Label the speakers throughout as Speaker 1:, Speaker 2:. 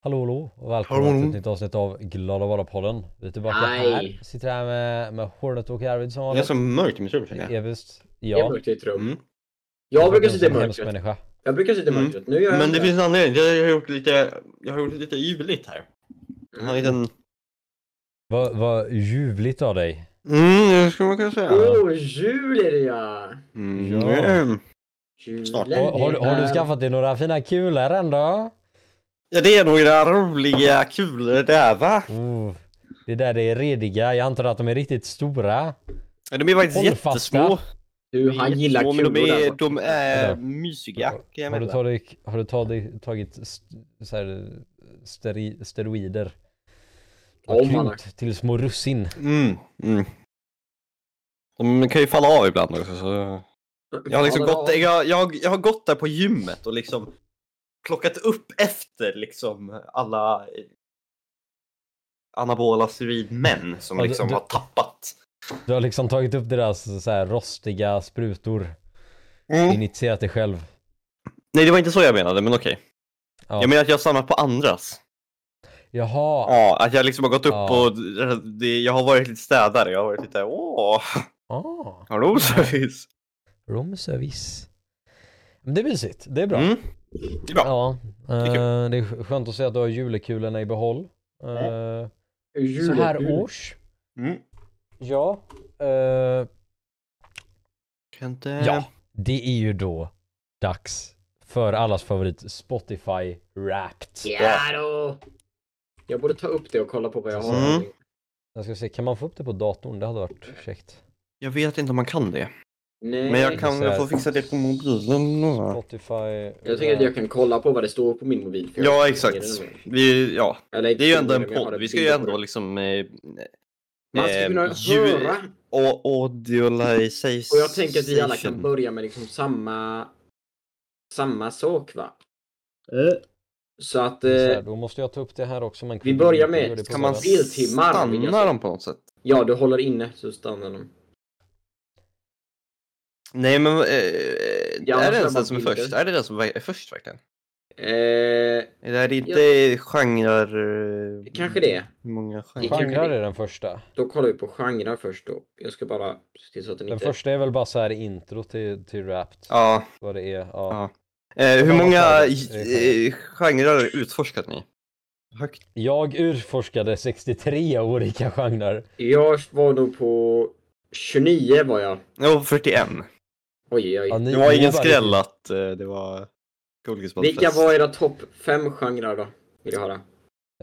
Speaker 1: Hallå hallå och välkomna
Speaker 2: Hallå.
Speaker 1: till ett nytt avsnitt av Glada Vara-podden. Vi är tillbaka
Speaker 3: Hej.
Speaker 1: här. Sitter här med, med Hornet och Arvid som
Speaker 2: Det är
Speaker 1: vanligt.
Speaker 2: så mörkt i mitt rum känner jag.
Speaker 1: Evist.
Speaker 3: Det är
Speaker 1: Ja. Mm.
Speaker 3: mörkt i ett rum.
Speaker 2: Mm.
Speaker 1: Jag
Speaker 3: Jag brukar
Speaker 1: är
Speaker 3: sitta i
Speaker 1: en hemsk
Speaker 3: mörkret.
Speaker 1: människa.
Speaker 3: Jag brukar sitta i
Speaker 2: Mm.
Speaker 3: mörkret. Nu gör jag
Speaker 2: Men det
Speaker 3: inte
Speaker 2: finns en anledning. Jag har gjort lite, jag har gjort lite ljuvligt här. Jag har en liten...
Speaker 1: Vad, vad ljuvligt av dig.
Speaker 2: Mm, det skulle man kunna säga.
Speaker 3: Åh, jul är det ja!
Speaker 2: Mm.
Speaker 1: Ja.
Speaker 2: Ja.
Speaker 3: Julen
Speaker 2: Snart.
Speaker 1: Har, har, du- har
Speaker 3: är
Speaker 1: du
Speaker 3: här.
Speaker 1: skaffat dig några fina kulor ändå?
Speaker 2: det är några roliga kulor där va?
Speaker 1: Oh, det där är rediga. Jag antar att de är riktigt stora.
Speaker 2: Ja, De är faktiskt
Speaker 1: Håll fasta.
Speaker 2: jättesmå.
Speaker 3: Du, han gillar
Speaker 2: Jättesmå, men
Speaker 3: kulor
Speaker 2: de är,
Speaker 3: där.
Speaker 2: de är
Speaker 1: Vänta.
Speaker 2: mysiga. kan jag
Speaker 1: Alltså. Har du
Speaker 2: meddela.
Speaker 1: tagit, har du tagit, tagit st, så här, steri, steroider? Du har
Speaker 3: Om han har-
Speaker 1: krympt till små russin.
Speaker 2: Mm, mm. De kan ju falla av ibland också så... Jag har liksom
Speaker 3: Ja,
Speaker 2: gått, jag, jag, jag har gått där på gymmet och liksom plockat upp efter liksom alla eh, anabola steroidmän som
Speaker 1: Ja, du-
Speaker 2: liksom
Speaker 1: du-
Speaker 2: har tappat.
Speaker 1: Du har liksom tagit upp deras så här, rostiga sprutor.
Speaker 2: Mm.
Speaker 1: Initierat dig själv.
Speaker 2: Nej, det var inte så jag menade, men okej.
Speaker 1: Ja.
Speaker 2: Jag menar att jag har samlat på andras.
Speaker 1: Jaha.
Speaker 2: Ja, att jag liksom har gått upp
Speaker 1: Ja.
Speaker 2: och det, jag har varit lite städare. Jag har varit lite åh,
Speaker 1: Ah,
Speaker 2: har du oservice?
Speaker 1: romservice. Men det är mysigt, det är bra.
Speaker 2: Mm. Det är bra.
Speaker 1: Ja,
Speaker 2: är
Speaker 1: eh,
Speaker 2: kul.
Speaker 1: det är skönt att se att du har julekulorna i behåll. Eh,
Speaker 3: jul
Speaker 1: Så
Speaker 3: är
Speaker 1: här
Speaker 3: jul.
Speaker 1: års.
Speaker 2: Mm.
Speaker 1: Ja. eh,
Speaker 2: Kan inte...
Speaker 1: ja, det är ju då dags för allas favorit Spotify Wrapped.
Speaker 3: Ja då! Jag borde ta upp det och kolla på vad jag har.
Speaker 2: Mm.
Speaker 1: Jag ska se, kan man få upp det på datorn? Det hade varit käckt.
Speaker 2: Jag vet inte om man kan det.
Speaker 3: Nej.
Speaker 2: Men jag kan
Speaker 1: Så här-
Speaker 2: väl få fixa det på mobilen.
Speaker 1: Spotify.
Speaker 3: Jag tänker att jag kan kolla på vad det står på min mobil. för jag
Speaker 2: Ja,
Speaker 3: har
Speaker 2: exakt.
Speaker 3: ingen aning.
Speaker 2: Vi, ja,
Speaker 3: Eller inte
Speaker 2: Det är ju ändå
Speaker 3: bilder,
Speaker 2: en
Speaker 3: men jag har
Speaker 2: podd,
Speaker 3: ett
Speaker 2: vi ska ju
Speaker 3: bild på
Speaker 2: ändå
Speaker 3: det.
Speaker 2: liksom... Eh,
Speaker 3: Man ska
Speaker 2: eh,
Speaker 3: kunna
Speaker 2: ju-
Speaker 3: höra.
Speaker 2: au- Audiolization.
Speaker 3: Och jag tänker att vi alla kan börja med liksom samma... Samma sak va? Så att...
Speaker 1: Så
Speaker 3: Eh,
Speaker 1: här, då måste jag ta upp det här också. Men
Speaker 3: Vi börjar med-
Speaker 1: gör det på
Speaker 2: Kan man
Speaker 1: sidan.
Speaker 3: Speltimmar, vill jag
Speaker 2: stanna
Speaker 3: säga.
Speaker 2: dem på något sätt?
Speaker 3: Ja, du håller inne så stannar de.
Speaker 2: Nej men, eh,
Speaker 3: Ja,
Speaker 2: är
Speaker 3: så
Speaker 2: det
Speaker 3: är
Speaker 2: ens
Speaker 3: man
Speaker 2: den som är
Speaker 3: bilder.
Speaker 2: först? Är det den som är först verkligen?
Speaker 3: Eh,
Speaker 2: Är det här inte genrer... eh,
Speaker 3: kanske det.
Speaker 2: hur Många genrer.
Speaker 3: Kan-
Speaker 1: Genrer är den första.
Speaker 3: Då kollar vi på genrer först då. Jag ska bara se till så att den
Speaker 1: Den
Speaker 3: inte...
Speaker 1: första är väl bara så här intro till, till Wrapped.
Speaker 2: Ja.
Speaker 1: Vad det är. Ja.
Speaker 2: Ja. Eh, hur
Speaker 1: Vad
Speaker 2: många
Speaker 1: var det?
Speaker 2: eh, genrer utforskat ni? Högt.
Speaker 1: Jag utforskade 63 olika genrer.
Speaker 3: Jag var nog på 29 var jag.
Speaker 2: Jo, 41.
Speaker 3: Oj, oj,
Speaker 1: Ja,
Speaker 3: oj.
Speaker 1: ni-
Speaker 2: Det var
Speaker 1: ni
Speaker 2: ingen
Speaker 1: bara-
Speaker 2: skräll att eh, det var... Golgotspotfest.
Speaker 3: Vilka var era topp 5 genrer då? Vill jag höra.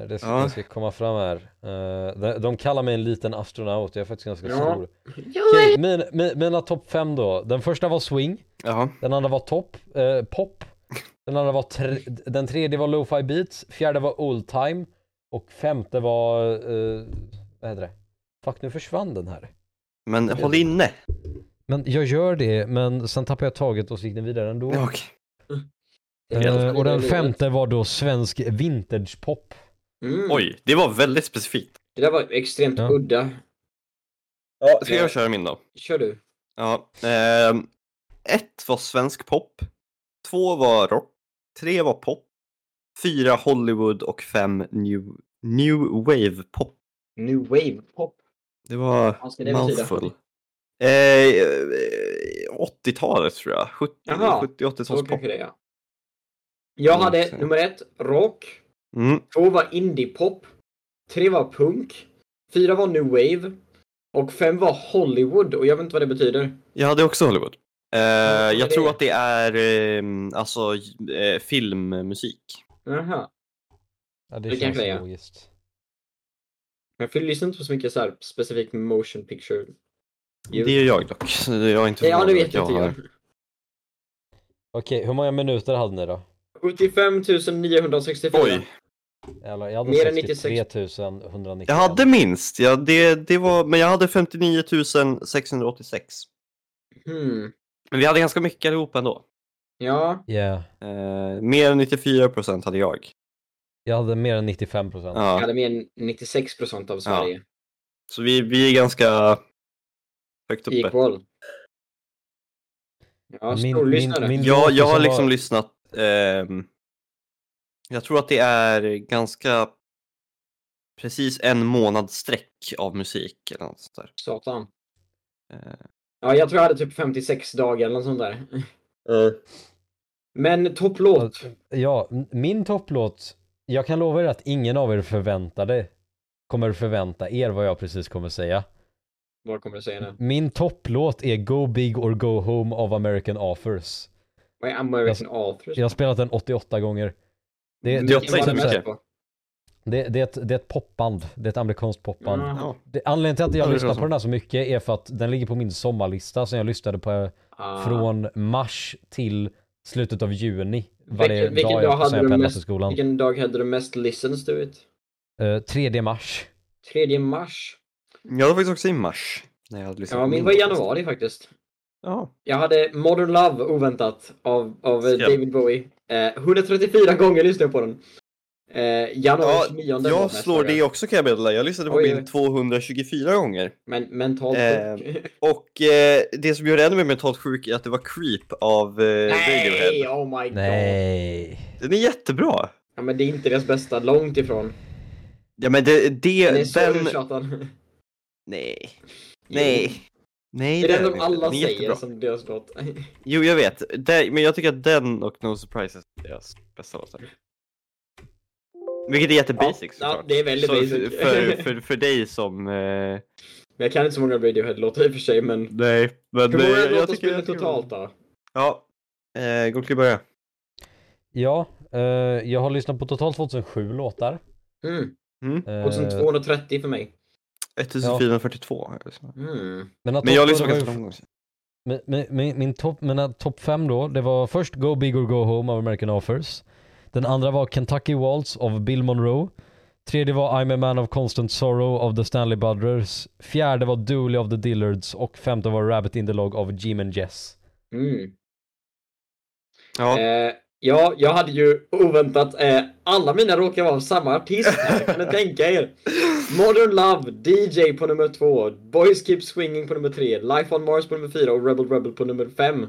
Speaker 1: Det ska,
Speaker 2: Ja.
Speaker 1: det ska komma fram här. Eh, de, de kallar mig en liten astronaut, jag är faktiskt ganska
Speaker 3: Ja.
Speaker 1: stor.
Speaker 3: Ja,
Speaker 1: Okej, min, min, mina topp fem då. Den första var swing,
Speaker 2: Jaha.
Speaker 1: den andra var top, eh, pop. Den andra var tre, den tredje var lo-fi beats, fjärde var old time och femte var, eh, vad heter det? Fuck nu försvann den här.
Speaker 2: Men håll inne.
Speaker 1: Men jag gör det, men sen tappade jag taget och så gick den vidare ändå.
Speaker 2: Ja, okej.
Speaker 1: Eh, och den femte var då svensk vintagepop.
Speaker 3: Mm. Oj.
Speaker 2: Oj, det var väldigt specifikt.
Speaker 3: Det där var extremt
Speaker 1: Ja.
Speaker 3: udda.
Speaker 2: Ja, ska
Speaker 3: Ja.
Speaker 2: jag köra min då?
Speaker 3: Kör du.
Speaker 2: Ja. ehm, ett var svensk pop. Två var rock. Tre var pop. Fyra Hollywood och fem new, new wave pop.
Speaker 3: New wave pop.
Speaker 2: Det var
Speaker 3: Vad ska det betyda?
Speaker 2: mouthful. Eh, eh, 80-talet tror jag. 70,
Speaker 3: Jaha,
Speaker 2: 70
Speaker 3: Så
Speaker 2: 80-tals pop.
Speaker 3: kanske det ja. Jag
Speaker 2: Mm,
Speaker 3: hade
Speaker 2: så.
Speaker 3: nummer ett, rock.
Speaker 2: Mm.
Speaker 3: Två var indiepop. Tre var punk. Fyra var new wave. Och fem var Hollywood och jag vet inte vad det betyder.
Speaker 2: Jag hade också Hollywood. Eh,
Speaker 3: vad är
Speaker 2: jag
Speaker 3: det?
Speaker 2: tror att det är ehm, alltså j- eh, filmmusik.
Speaker 3: Jaha.
Speaker 1: Ja, det,
Speaker 3: Det
Speaker 1: känns
Speaker 3: kanske det är.
Speaker 1: logiskt.
Speaker 3: Jag fyller- lyssnar inte på så mycket så här specifikt motion picture. Jo.
Speaker 2: Det är jag dock. så Jag är inte
Speaker 3: Ja, det
Speaker 2: förvånad
Speaker 3: vet
Speaker 2: att jag
Speaker 3: inte
Speaker 2: har-
Speaker 3: jag.
Speaker 1: Okej, hur många minuter hade ni då?
Speaker 3: 75 964.
Speaker 2: Oj,
Speaker 1: Eller, jag hade
Speaker 3: Mer än
Speaker 1: 63 190.
Speaker 2: jag hade minst. Ja, det, det var, men jag hade 59 686.
Speaker 3: Hmm.
Speaker 2: Men vi hade ganska mycket allihop ändå.
Speaker 3: Ja.
Speaker 1: Yeah.
Speaker 2: Eh, mer än 94 procent hade jag.
Speaker 1: Jag hade mer än 95 procent.
Speaker 3: Jag
Speaker 2: Ja,
Speaker 3: hade mer än 96% av Sverige.
Speaker 2: så vi, vi är ganska högt
Speaker 3: typ
Speaker 2: uppe.
Speaker 3: Equal. Ja,
Speaker 1: Min-
Speaker 3: storlyssnare.
Speaker 1: min- min-
Speaker 2: Jag, jag har
Speaker 1: Som
Speaker 2: liksom
Speaker 1: var-
Speaker 2: lyssnat ehm, Jag tror att det är ganska precis en månad sträck av musik eller något sånt där.
Speaker 3: Satan.
Speaker 2: Eh,
Speaker 3: Ja, jag tror jag hade typ 56 dagar eller något sånt där. Eh. Men topplåt.
Speaker 1: Ja, typ. m- min topplåt, jag kan lova er att ingen av er förväntade kommer förvänta er vad jag precis kommer säga.
Speaker 3: Vad kommer du säga nu?
Speaker 1: Min topplåt är Go Big or Go Home av American Authors.
Speaker 3: Vad är American Authors?
Speaker 1: Jag har spelat den 88 gånger. Det,
Speaker 2: Det
Speaker 1: det,
Speaker 2: är åtta
Speaker 3: Vilken var
Speaker 2: inte
Speaker 3: du
Speaker 2: så
Speaker 3: bäst
Speaker 2: mycket.
Speaker 3: på?
Speaker 1: det, det, är ett, det är ett popband. Det är ett amerikanskt popband.
Speaker 3: Ja.
Speaker 2: ja.
Speaker 1: Det, anledningen till att
Speaker 2: Mm. Ja,
Speaker 1: jag
Speaker 2: det
Speaker 1: lyssnar
Speaker 2: känns
Speaker 1: på
Speaker 2: så.
Speaker 1: den här så mycket är för att den ligger på min sommarlista som jag lyssnade på eh,
Speaker 3: Ah.
Speaker 1: från mars till slutet av juni. Varje
Speaker 3: Vilken- vilken
Speaker 1: dag
Speaker 3: dag
Speaker 1: jag,
Speaker 3: hade
Speaker 1: sen jag
Speaker 3: du
Speaker 1: pendlade
Speaker 3: mest-
Speaker 1: till skolan.
Speaker 3: Vilken dag hade du mest listens to it?
Speaker 1: Eh, 3 mars.
Speaker 3: 3 mars.
Speaker 2: Jag var faktiskt också i mars. När jag hade lyssnat
Speaker 3: Ja,
Speaker 2: på
Speaker 3: min var i januari faktiskt.
Speaker 2: Ja.
Speaker 3: Jag hade Modern Love oväntat av, av eh,
Speaker 2: Ska-
Speaker 3: David Bowie. Eh, 134 gånger lyssnade jag på den. Eh,
Speaker 2: Ja,
Speaker 3: januari 9 var
Speaker 2: jag
Speaker 3: mest
Speaker 2: slår
Speaker 3: dagar.
Speaker 2: det också kan jag meddela. Jag lyssnade på
Speaker 3: Oj, oj.
Speaker 2: min 224 gånger.
Speaker 3: Men mentalt
Speaker 2: Eh,
Speaker 3: sjuk.
Speaker 2: Och eh, det som gör det ännu mer mentalt sjuk är att det var Creep av eh,
Speaker 3: Nej,
Speaker 2: Radiohead.
Speaker 3: oh my god.
Speaker 1: Nej.
Speaker 2: Den är jättebra.
Speaker 3: Ja, men det är inte deras bästa, långt ifrån.
Speaker 2: Ja men det,
Speaker 3: Den är
Speaker 2: det
Speaker 3: så
Speaker 2: den...
Speaker 3: uttjatad.
Speaker 2: Nej. Nej. Nej,
Speaker 3: Det är den
Speaker 2: är
Speaker 3: de
Speaker 2: inte.
Speaker 3: alla
Speaker 2: Den är
Speaker 3: säger
Speaker 2: jättebra.
Speaker 3: som deras låt.
Speaker 2: Jo, jag vet. Det, men jag tycker att den och No Surprises är deras bästa låtar. Vilket är jättebasic
Speaker 3: Ja,
Speaker 2: såklart.
Speaker 3: ja, det är väldigt
Speaker 2: så f-
Speaker 3: basic.
Speaker 2: För, för, för dig som... Eh,
Speaker 3: Men jag kan inte så många Radiohead-låtar i och för sig, men...
Speaker 2: nej, men
Speaker 3: Hur
Speaker 2: eh,
Speaker 3: många
Speaker 2: jag, jag
Speaker 3: låtar
Speaker 2: tycker...
Speaker 3: spelar
Speaker 2: Jag
Speaker 3: du
Speaker 2: tycker
Speaker 3: totalt då?
Speaker 2: Ja. Eh, Gottlieb börja.
Speaker 1: Ja, eh, jag har lyssnat på totalt 2007 låtar.
Speaker 3: Mm.
Speaker 2: Mm.
Speaker 1: Eh,
Speaker 3: 2230 för mig.
Speaker 2: 1442. Ja.
Speaker 3: Mm.
Speaker 1: mina
Speaker 2: Men jag lyssnar
Speaker 1: topplåtar var ju-
Speaker 2: ganska på dem.
Speaker 1: Min, min, min, min topp- mina topp fem då, det var först Go Big or Go Home av American Offers. Den andra var Kentucky Waltz av Bill Monroe. Tredje var I'm a man of constant sorrow av The Stanley Brothers. Fjärde var Dooley of the Dillards och femte var Rabbit in the Log av Jim and Jess.
Speaker 3: Mm.
Speaker 2: Ja.
Speaker 3: Eh, ja, jag hade ju oväntat, eh, alla mina råkar vara av samma artist här, kan ni tänka er? Modern Love, DJ på nummer två, Boys Keep Swinging på nummer tre, Life on Mars på nummer fyra och Rebel Rebel på nummer fem.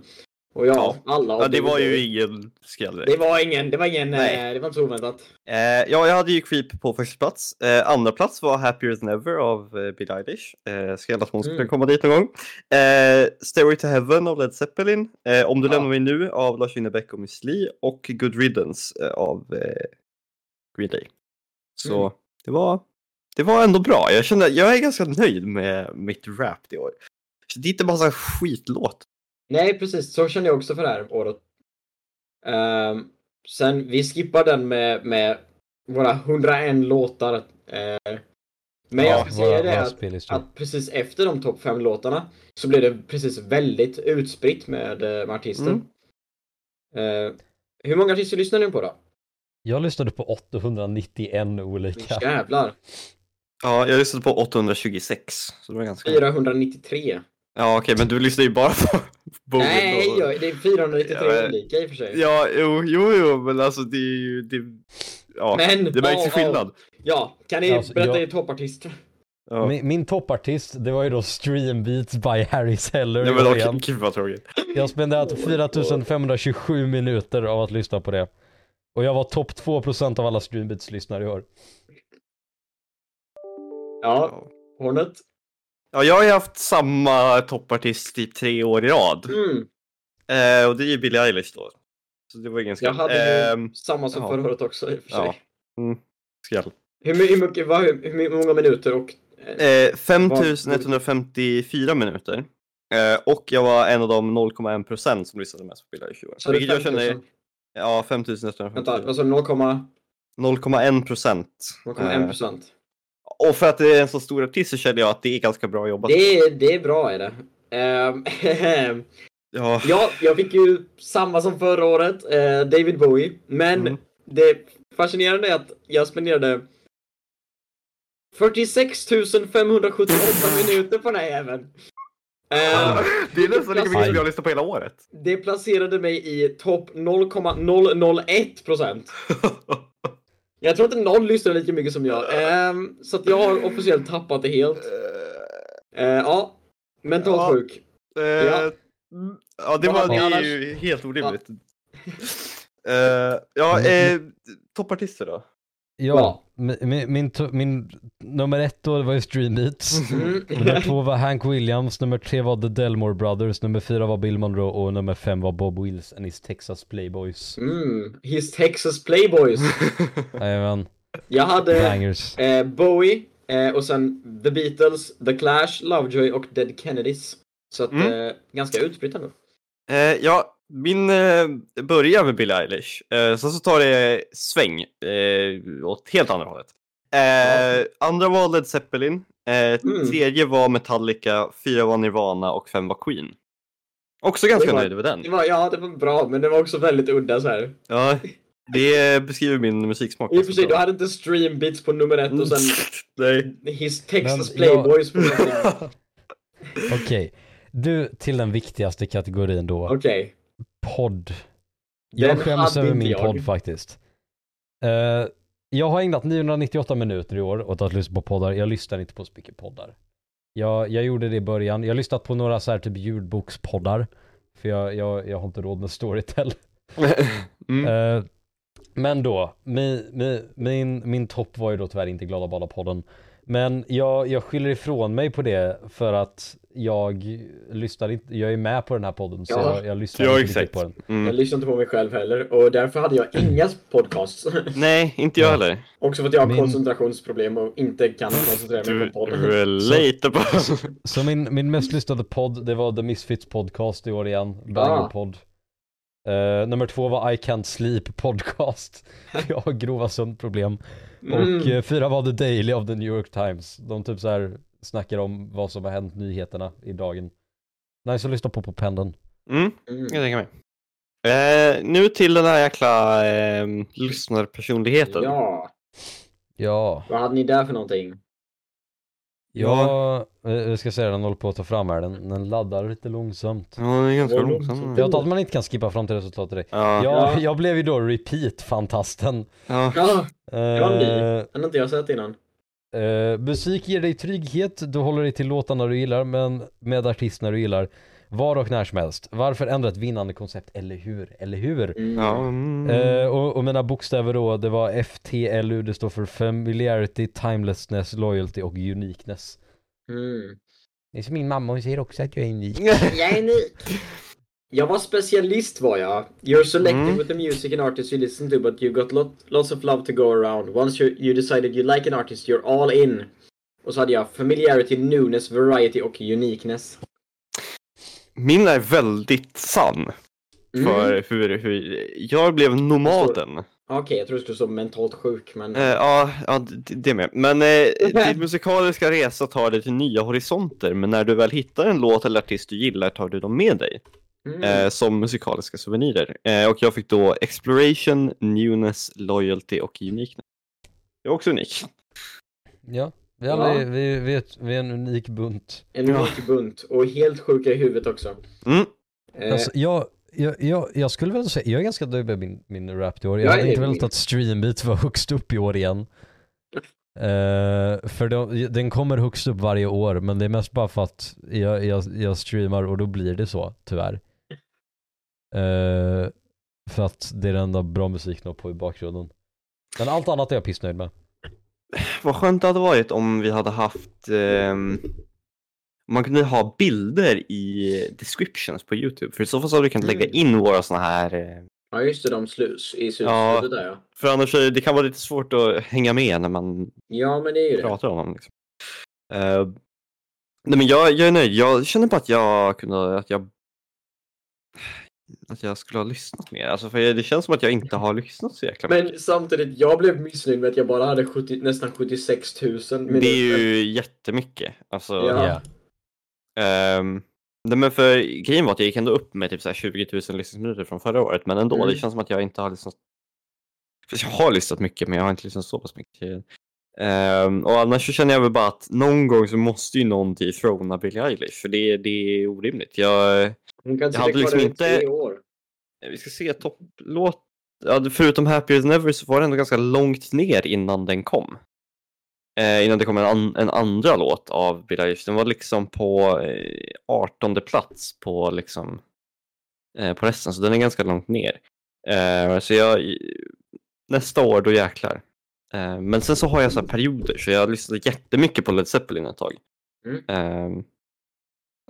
Speaker 3: Och ja,
Speaker 2: Ja.
Speaker 3: alla av
Speaker 2: ja, det
Speaker 3: dem-
Speaker 2: var ju ingen skräll direkt.
Speaker 3: Det var ingen, det var ingen,
Speaker 2: Nej.
Speaker 3: eh, det var inte så oväntat.
Speaker 2: Eh, ja, jag hade ju Creep på första plats. Eh, andra plats var Happier than ever av eh, Billie Eilish. Eh, Skräll att hon skulle
Speaker 3: Mm.
Speaker 2: komma dit någon gång. Eh, Stairway to heaven av Led Zeppelin. Eh, Om du
Speaker 3: Ja.
Speaker 2: lämnar mig nu av Lars Winnerbäck och Miss Li. Och Good riddance eh, av eh, Green Day. Så
Speaker 3: Mm.
Speaker 2: det, var, det var ändå bra. Jag kände jag är ganska nöjd med mitt rap i år. Så det är inte massa skitlåt.
Speaker 3: Nej, precis, så kände jag också för det här året. Ehm, sen, vi skippar den med, med våra 101 låtar. eh, men jag ska säga det att
Speaker 1: att...
Speaker 3: att precis efter de topp fem låtarna så blev det precis väldigt utspritt med, eh, med
Speaker 2: Mm.
Speaker 3: artisten. Eh, hur många artister lyssnar ni på då?
Speaker 1: Jag lyssnade på 891 olika.
Speaker 3: Jävlar!
Speaker 2: Ja, jag lyssnade på 826. Så det var ganska...
Speaker 3: 493.
Speaker 2: Ja, okej, men du lyssnar ju bara på Bowie.
Speaker 3: Nej,
Speaker 2: och-
Speaker 3: jag, det är 493
Speaker 2: Ja, men-
Speaker 3: olika i och för sig.
Speaker 2: Ja, jo, jo, jo, men alltså det är ju... Det, ja,
Speaker 3: Men,
Speaker 2: det märks ju
Speaker 3: ja,
Speaker 2: skillnad.
Speaker 3: Ja, kan ni
Speaker 1: Alltså,
Speaker 3: berätta
Speaker 1: jag-
Speaker 3: er toppartist?
Speaker 2: Ja.
Speaker 1: Min, min toppartist, det var ju då Stream Beats by Harry Seller
Speaker 2: Nej,
Speaker 1: i
Speaker 2: men
Speaker 1: början.
Speaker 2: okej, gud vad tråkigt.
Speaker 1: Jag har spenderat 4527 minuter av att lyssna på det. Och jag var topp 2% av alla Streambeats-lyssnare i år.
Speaker 3: Ja,
Speaker 2: Ja.
Speaker 3: Hornet.
Speaker 2: ja, jag har ju haft samma toppartist i tre år i rad.
Speaker 3: Mm,
Speaker 2: Eh, och det är ju Billie Eilish då. Så det var ju ganska...
Speaker 3: jag hade ju
Speaker 2: Ehm,
Speaker 3: samma som
Speaker 2: ja.
Speaker 3: förra året också i och för sig.
Speaker 2: Ja. Mm. skräll.
Speaker 3: Hur, my- hur, mycket, vad, hur, hur många minuter och...
Speaker 2: Eh, 5154 minuter. Eh, och jag var en av de 0,1% som lyssnade mest på Billie Eilish i år.
Speaker 3: Så det
Speaker 2: Vilket
Speaker 3: är
Speaker 2: jag
Speaker 3: 5 000.
Speaker 2: känner... Ja,
Speaker 3: Vänta,
Speaker 2: 5154.
Speaker 3: alltså 0,1
Speaker 2: 0,1%. Eh,
Speaker 3: procent.
Speaker 2: Och för att det är en så stor artist så känner jag att det är ganska bra jobbat.
Speaker 3: Det är, det är bra är det. Ehm,
Speaker 2: Ja.
Speaker 3: ja, jag fick ju samma som förra året, eh, David Bowie. Men
Speaker 2: Mm.
Speaker 3: det fascinerande är att jag spenderade 46 578 minuter på den här jäveln. Ehm,
Speaker 2: Det är nästan lika mycket
Speaker 1: Aj.
Speaker 2: som jag har lyssnat på hela året.
Speaker 3: det placerade mig i topp 0,001 procent. Jag tror inte någon lyssnar lika mycket som jag. Ehm, så att jag har officiellt tappat det helt. Eh, ja, mentalt
Speaker 2: Ja.
Speaker 3: sjuk.
Speaker 2: Eh,
Speaker 3: Ja.
Speaker 2: mm, ja, det,
Speaker 3: Vad
Speaker 2: var,
Speaker 3: hade
Speaker 2: det
Speaker 3: ni
Speaker 2: är
Speaker 3: annars?
Speaker 2: ju helt orimligt. Eh, ja,
Speaker 1: Mm.
Speaker 2: eh, toppartister då?
Speaker 1: Ja, mi- mi- min, to- min nummer ett då var ju Stream Beats.
Speaker 3: Mm.
Speaker 1: Nummer två var Hank Williams, nummer tre var The Delmore Brothers, nummer fyra var Bill Monroe och nummer fem var Bob Wills and his Texas Playboys.
Speaker 3: Mm. His Texas Playboys.
Speaker 1: Jajamän,
Speaker 3: Jag hade
Speaker 1: bangers.
Speaker 3: eh, Bowie eh, och sen The Beatles, The Clash, Lovejoy och Dead Kennedys. Så att,
Speaker 2: Mm.
Speaker 3: eh, ganska utspritt ändå.
Speaker 2: Eh, ja, min eh, börjar med Billie Eilish. Eh, sen så tar det sväng eh, åt helt andra hållet. Eh, andra var Led Zeppelin. Eh,
Speaker 3: Mm.
Speaker 2: Tredje var Metallica, fyra var Nirvana och fem var Queen. Också ganska
Speaker 3: Det var-
Speaker 2: nöjd över den.
Speaker 3: Det var, ja, det var bra, men det var också väldigt udda så här.
Speaker 2: Ja, det beskriver min musiksmak.
Speaker 3: I och för sig, du
Speaker 2: ganska Alltså, bra. Mm.
Speaker 3: hade inte Stream Beats på nummer ett och sen
Speaker 2: Nej.
Speaker 3: His Texas
Speaker 1: Men jag-
Speaker 3: Playboys på nummer ett.
Speaker 1: Okej, du till den viktigaste kategorin då,
Speaker 3: Okej.
Speaker 1: podd. Jag
Speaker 3: Den
Speaker 1: skäms
Speaker 3: hade
Speaker 1: över
Speaker 3: inte
Speaker 1: min
Speaker 3: jag.
Speaker 1: podd faktiskt. Eh, jag har ägnat 998 minuter i år åt att lyssna på poddar. Jag lyssnar inte på så mycket poddar. Jag, jag gjorde det i början. Jag har lyssnat på några så här typ ljudbokspoddar. För jag, jag, jag har inte råd med Storytel.
Speaker 2: Mm.
Speaker 1: Eh, men då, mi, mi, min, min topp var ju då tyvärr inte Glada Bala-podden. Men jag, jag skyller ifrån mig på det för att jag lyssnar inte, jag är med på den här podden så
Speaker 3: Ja.
Speaker 1: jag, jag lyssnar
Speaker 2: Ja,
Speaker 1: inte
Speaker 2: exakt.
Speaker 1: riktigt på den.
Speaker 2: Mm.
Speaker 3: Jag lyssnade inte på mig själv heller och därför hade jag inga podcasts.
Speaker 2: Nej, inte jag
Speaker 1: Ja.
Speaker 2: heller.
Speaker 3: också för att jag har
Speaker 1: Min-
Speaker 3: koncentrationsproblem och inte kan koncentrera mig
Speaker 2: Du
Speaker 3: på podden.
Speaker 2: relate på.
Speaker 1: Så min, min mest lyssnade podd, det var The Misfits podcast i år igen, Bangerpodd. Eh, nummer två var I Can't Sleep podcast. Jag har grova sömnproblem. Och
Speaker 3: Mm.
Speaker 1: eh, fyra var The Daily av The New York Times. De typ så här snackar om vad som har hänt, nyheterna i dagen. Nice att lyssna på på pendeln.
Speaker 2: Mm.
Speaker 3: Mm.
Speaker 2: Jag tänker mig. Eh, nu till den här jäkla eh, lyssnarpersonligheten.
Speaker 3: Ja,
Speaker 1: Ja,
Speaker 3: vad hade ni där för någonting?
Speaker 1: jag eh, ska säga den håller på att ta fram här, den, den laddar lite långsamt.
Speaker 2: Ja, det är ganska
Speaker 3: Vad
Speaker 2: långsamt.
Speaker 3: långsamt.
Speaker 1: Jag antar att man inte kan skippa fram till resultatet direkt.
Speaker 2: Ja. Ja.
Speaker 1: Jag,
Speaker 3: Ja.
Speaker 1: jag blev ju då repeat-fantasten.
Speaker 2: Ja.
Speaker 3: Ja, var
Speaker 1: Eh,
Speaker 3: ny. den har Ah, inte jag sett innan.
Speaker 1: Eh, musik ger dig trygghet, du håller dig till låtarna du gillar men med artisterna du gillar var och när som helst. Varför ändra ett vinnande koncept, eller hur? Eller hur?
Speaker 3: Mm.
Speaker 2: mm.
Speaker 1: Eh, och, och mina bokstäver då, det var FTLU, det står för familiarity, timelessness, loyalty och uniqueness.
Speaker 3: Mm.
Speaker 1: Det är som min mamma, hon säger också att jag är unik.
Speaker 3: Jag är unik. Jag var specialist var jag. You're selected
Speaker 2: Mm.
Speaker 3: with the music and artist you listen to but you got lot, lots of love to go around. Once you, you decided you like an artist you're all in. Och så hade jag familiarity, newness, variety och uniqueness.
Speaker 2: Min är väldigt sann
Speaker 3: Mm.
Speaker 2: för hur, hur jag blev nomaden.
Speaker 3: Okej, jag tror du skulle stå mentalt sjuk men...
Speaker 2: Eh, ja, ja, det det med. Men eh, din musikaliska resa tar dig till nya horisonter, men när du väl hittar en låt eller artist du gillar tar du dem med dig.
Speaker 3: Mm.
Speaker 2: eh, som musikaliska souvenirer. Eh, och jag fick då Exploration, Newness, Loyalty och Uniqueness. Jag är också unik.
Speaker 1: Ja, vi, är aldrig, vi, vi, är ett, vi är en unik bunt.
Speaker 3: En
Speaker 2: Ja.
Speaker 3: unik bunt och helt sjuka i huvudet också.
Speaker 2: Mm.
Speaker 3: Eh,
Speaker 1: Alltså, jag, jag, jag, jag skulle väl säga, jag är ganska nöjd med min, min rap i år. Jag,
Speaker 3: Jag
Speaker 1: hade
Speaker 3: är
Speaker 1: inte velat
Speaker 3: med.
Speaker 1: att streambeat var högst upp i år igen. Eh, för de, den kommer högst upp varje år men det är mest bara för att jag, jag, jag streamar och då blir det så, tyvärr. Eh, för att det är den enda bra musiken att ha på i bakgrunden. Men allt annat är jag pissnöjd med.
Speaker 2: Vad skönt det hade varit om vi hade haft ehm, man kunde ha bilder i descriptions på Youtube för i så fall så hade vi kunnat lägga
Speaker 3: Mm.
Speaker 2: in våra såna här eh,
Speaker 3: ja just det, de slus i slutet
Speaker 2: Ja.
Speaker 3: där ja.
Speaker 2: för annars är det- det kan vara lite svårt att hänga med när man
Speaker 3: Ja men det är ju det.
Speaker 2: pratar om dem. Liksom. Eh, nej men jag, jag är nöjd, jag känner bara att jag kunde, att jag att jag skulle ha lyssnat mer. Alltså för det känns som att jag inte har lyssnat så jäkla mycket.
Speaker 3: Men samtidigt, jag blev missnöjd med att jag bara hade 70, nästan 76 000 minuter.
Speaker 2: Det är ju jättemycket. Alltså,
Speaker 3: Ja.
Speaker 1: Ja.
Speaker 2: ehm, nej men för grejen var att jag gick ändå upp med typ så här 20 000 lyssningsminuter från förra året. Men ändå,
Speaker 3: Mm.
Speaker 2: det känns som att jag inte har lyssnat. Fast jag har lyssnat mycket, men jag har inte lyssnat så pass mycket. Um, och annars så känner jag väl bara att någon gång så måste ju någon dethrona Billie Eilish. För det, det är orimligt. Jag,
Speaker 3: Hon kan inte
Speaker 2: Jag hade
Speaker 3: sitta
Speaker 2: liksom
Speaker 3: kvar där i
Speaker 2: inte-
Speaker 3: tre år.
Speaker 2: Eh, vi ska se topplåt. Ja, förutom Happy as Never så var det ändå ganska långt ner innan den kom. Eh, innan det kom en, an- en andra låt av Billie Eilish. Den var liksom på eh, 18 plats på liksom eh, på resten, så den är ganska långt ner. Eh, så jag, nästa år, då jäklar. Eh, men sen så har jag så här perioder, så jag lyssnade jättemycket på Led Zeppelin ett tag.
Speaker 3: Mm.
Speaker 2: Eh,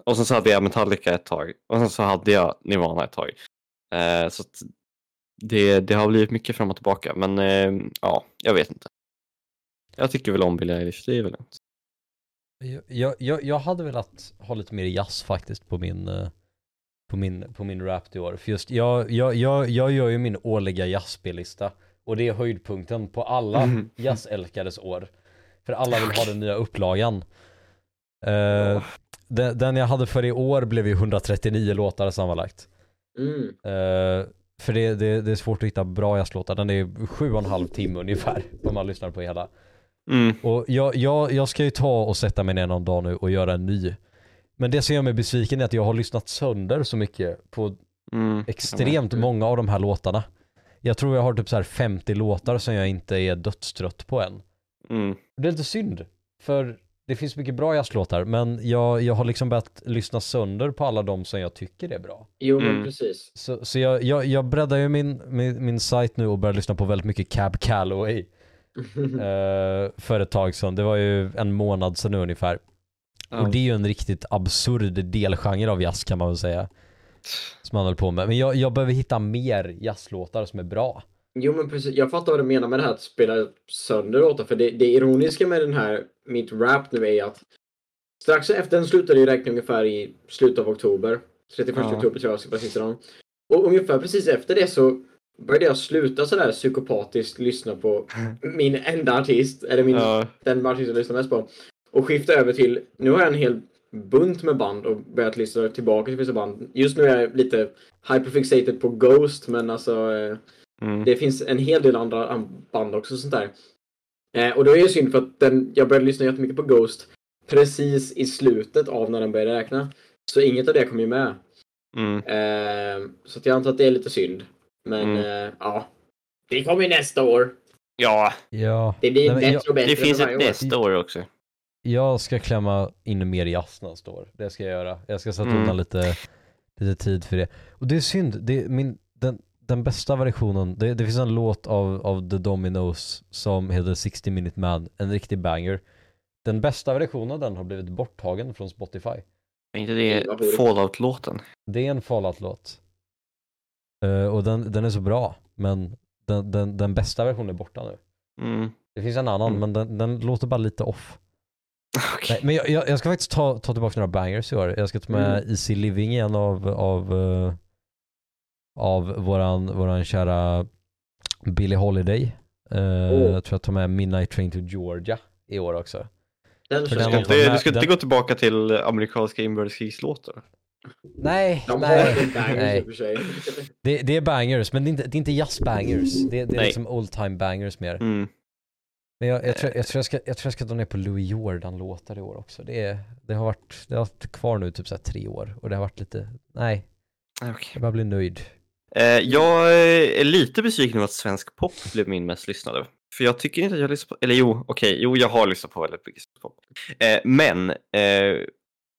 Speaker 2: och sen så hade jag Metallica ett tag, och sen så hade jag Nirvana ett tag. Eh, så att det, det har blivit mycket fram och tillbaka, men eh, ja, jag vet inte. Jag tycker väl om Billie Eilish, det är väl lugnt.
Speaker 1: Jag, jag, jag hade velat ha lite mer jazz faktiskt på min, eh, på min, på min rap i år. För just, jag, jag, jag, jag gör ju min årliga jazzspellista och det är höjdpunkten på alla
Speaker 2: Mhm.
Speaker 1: jazzälkares år. För alla vill ha den nya upplagan. Eh, den, den jag hade för i år blev ju 139 låtar sammanlagt.
Speaker 3: Mm.
Speaker 1: Eh, för det, det, det är svårt att hitta bra jazzlåtar, den är sju och en halv timme ungefär om man lyssnar på hela.
Speaker 2: Mm.
Speaker 1: Och jag, jag, jag ska ju ta och sätta mig ner någon dag nu och göra en ny. Men det som gör mig besviken är att jag har lyssnat sönder så mycket på
Speaker 2: Mm.
Speaker 1: extremt många av de här låtarna. Jag tror jag har typ så här 50 låtar som jag inte är dödstrött på än.
Speaker 2: Mm.
Speaker 1: Det är lite synd, för det finns mycket bra jazzlåtar, men jag, jag har liksom börjat lyssna sönder på alla de som jag tycker är bra.
Speaker 3: Jo, men
Speaker 2: Mm.
Speaker 3: precis.
Speaker 1: Så, så jag, jag, jag breddar ju min, min, min sajt nu och börjar lyssna på väldigt mycket Cab Calloway
Speaker 3: Mm.
Speaker 1: eh, för ett tag sedan. Det var ju en månad sedan nu ungefär.
Speaker 2: Ja.
Speaker 1: Och det är ju en riktigt absurd delgenre av jazz kan man väl säga. Som han höll på med. Men jag, jag behöver hitta mer jazzlåtar som är bra.
Speaker 3: Jo men precis, jag fattar vad du menar med det här att spela sönder låtar. För det, det ironiska med den här, mitt rap nu är att strax efter den slutade ju räkna ungefär i slutet av oktober. 31
Speaker 2: Ja.
Speaker 3: oktober tror jag var sista dagen. Och ungefär precis efter det så började jag sluta sådär psykopatiskt lyssna på min enda artist, eller min,
Speaker 2: Ja.
Speaker 3: den artist jag lyssnar mest på. Och skifta över till, nu har jag en hel bunt med band och börjat lyssna tillbaka till vissa band. Just nu är jag lite hyperfixated på Ghost men alltså eh,
Speaker 2: Mm.
Speaker 3: det finns en hel del andra an- band också och sånt där. Eh, och då är det synd för att den, jag började lyssna jättemycket på Ghost precis i slutet av när den började räkna. Så inget av det kom ju med.
Speaker 2: Mm.
Speaker 3: Eh, så att jag antar att det är lite synd. Men
Speaker 2: Mm.
Speaker 3: eh, ja. Det kommer ju nästa år.
Speaker 2: Ja,
Speaker 1: Ja,
Speaker 3: Det blir
Speaker 1: Nej, men
Speaker 3: bättre
Speaker 1: jag-
Speaker 3: och bättre
Speaker 2: det
Speaker 3: för
Speaker 2: finns
Speaker 3: varje
Speaker 2: ett
Speaker 3: år.
Speaker 2: nästa år också.
Speaker 1: jag ska klämma in mer jazz nästa år. Det ska jag göra. Jag ska sätta
Speaker 2: Mm.
Speaker 1: undan lite, lite tid för det. Och det är synd, det är min, den, den bästa versionen, det, det finns en låt av, av The Dominos som heter 60 Minute Man, en riktig banger. Den bästa versionen av den har blivit borttagen från Spotify.
Speaker 2: Är inte
Speaker 3: Det var roligt.
Speaker 2: det Fallout-låten?
Speaker 1: Det är en Fallout-låt. Eh, och den, den är så bra, men den, den, den bästa versionen är borta nu.
Speaker 2: Mm.
Speaker 1: Det finns en annan,
Speaker 2: Mm.
Speaker 1: men den, den låter bara lite off.
Speaker 2: Okej.
Speaker 1: Nej, men jag, jag, jag ska faktiskt ta, ta tillbaka några bangers i år. Jag ska ta med Easy Living igen av, av, eh, av våran, våran kära Billie Holiday. Eh,
Speaker 3: Åh.
Speaker 1: Jag tror jag tar med Midnight Train to Georgia i år också.
Speaker 3: Den
Speaker 1: För
Speaker 2: Du
Speaker 3: känns
Speaker 2: ska
Speaker 1: den-
Speaker 3: bra.
Speaker 2: inte, du ska
Speaker 1: den-
Speaker 2: inte gå tillbaka till amerikanska inbördeskrigslåtar?
Speaker 1: Nej,
Speaker 3: De har
Speaker 1: nej.
Speaker 3: ju bangers i
Speaker 1: Nej.
Speaker 3: och för sig.
Speaker 1: Det, det är bangers, men det är inte, det är inte jazzbangers. Det, det är
Speaker 2: Nej.
Speaker 1: liksom old time bangers mer.
Speaker 2: Mm.
Speaker 1: Men jag, jag, tror, jag, tror jag, ska, jag tror jag ska dra ner på Louis Jordan-låtar i år också. Det, är, det, har varit, det har varit kvar nu typ så här tre år och det har varit lite, nej,
Speaker 2: Okej.
Speaker 1: jag bara blir nöjd.
Speaker 2: Eh, jag eh, är lite besviken över att svensk pop blev min mest lyssnade. För jag tycker inte att jag lyssnar på, eller jo, okej, jo jag har lyssnat på väldigt mycket svensk pop. Eh, men eh,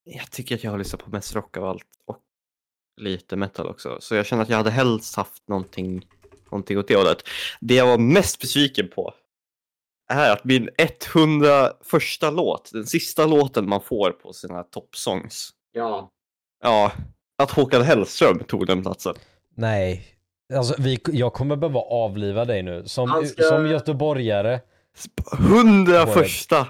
Speaker 2: jag tycker att jag har lyssnat på mest rock av allt och lite metal också. Så jag känner att jag hade helst haft någonting, någonting åt det hållet. Det jag var mest besviken på är att min 100 första låt, den sista låten man får på sina toppsongs,
Speaker 3: Ja.
Speaker 2: ja, att Håkan Hellström tog den platsen.
Speaker 1: Nej, alltså vi, jag kommer behöva avliva dig nu. Som,
Speaker 3: Han ska-
Speaker 1: som göteborgare,
Speaker 2: Hundra
Speaker 1: Vad är det?
Speaker 2: första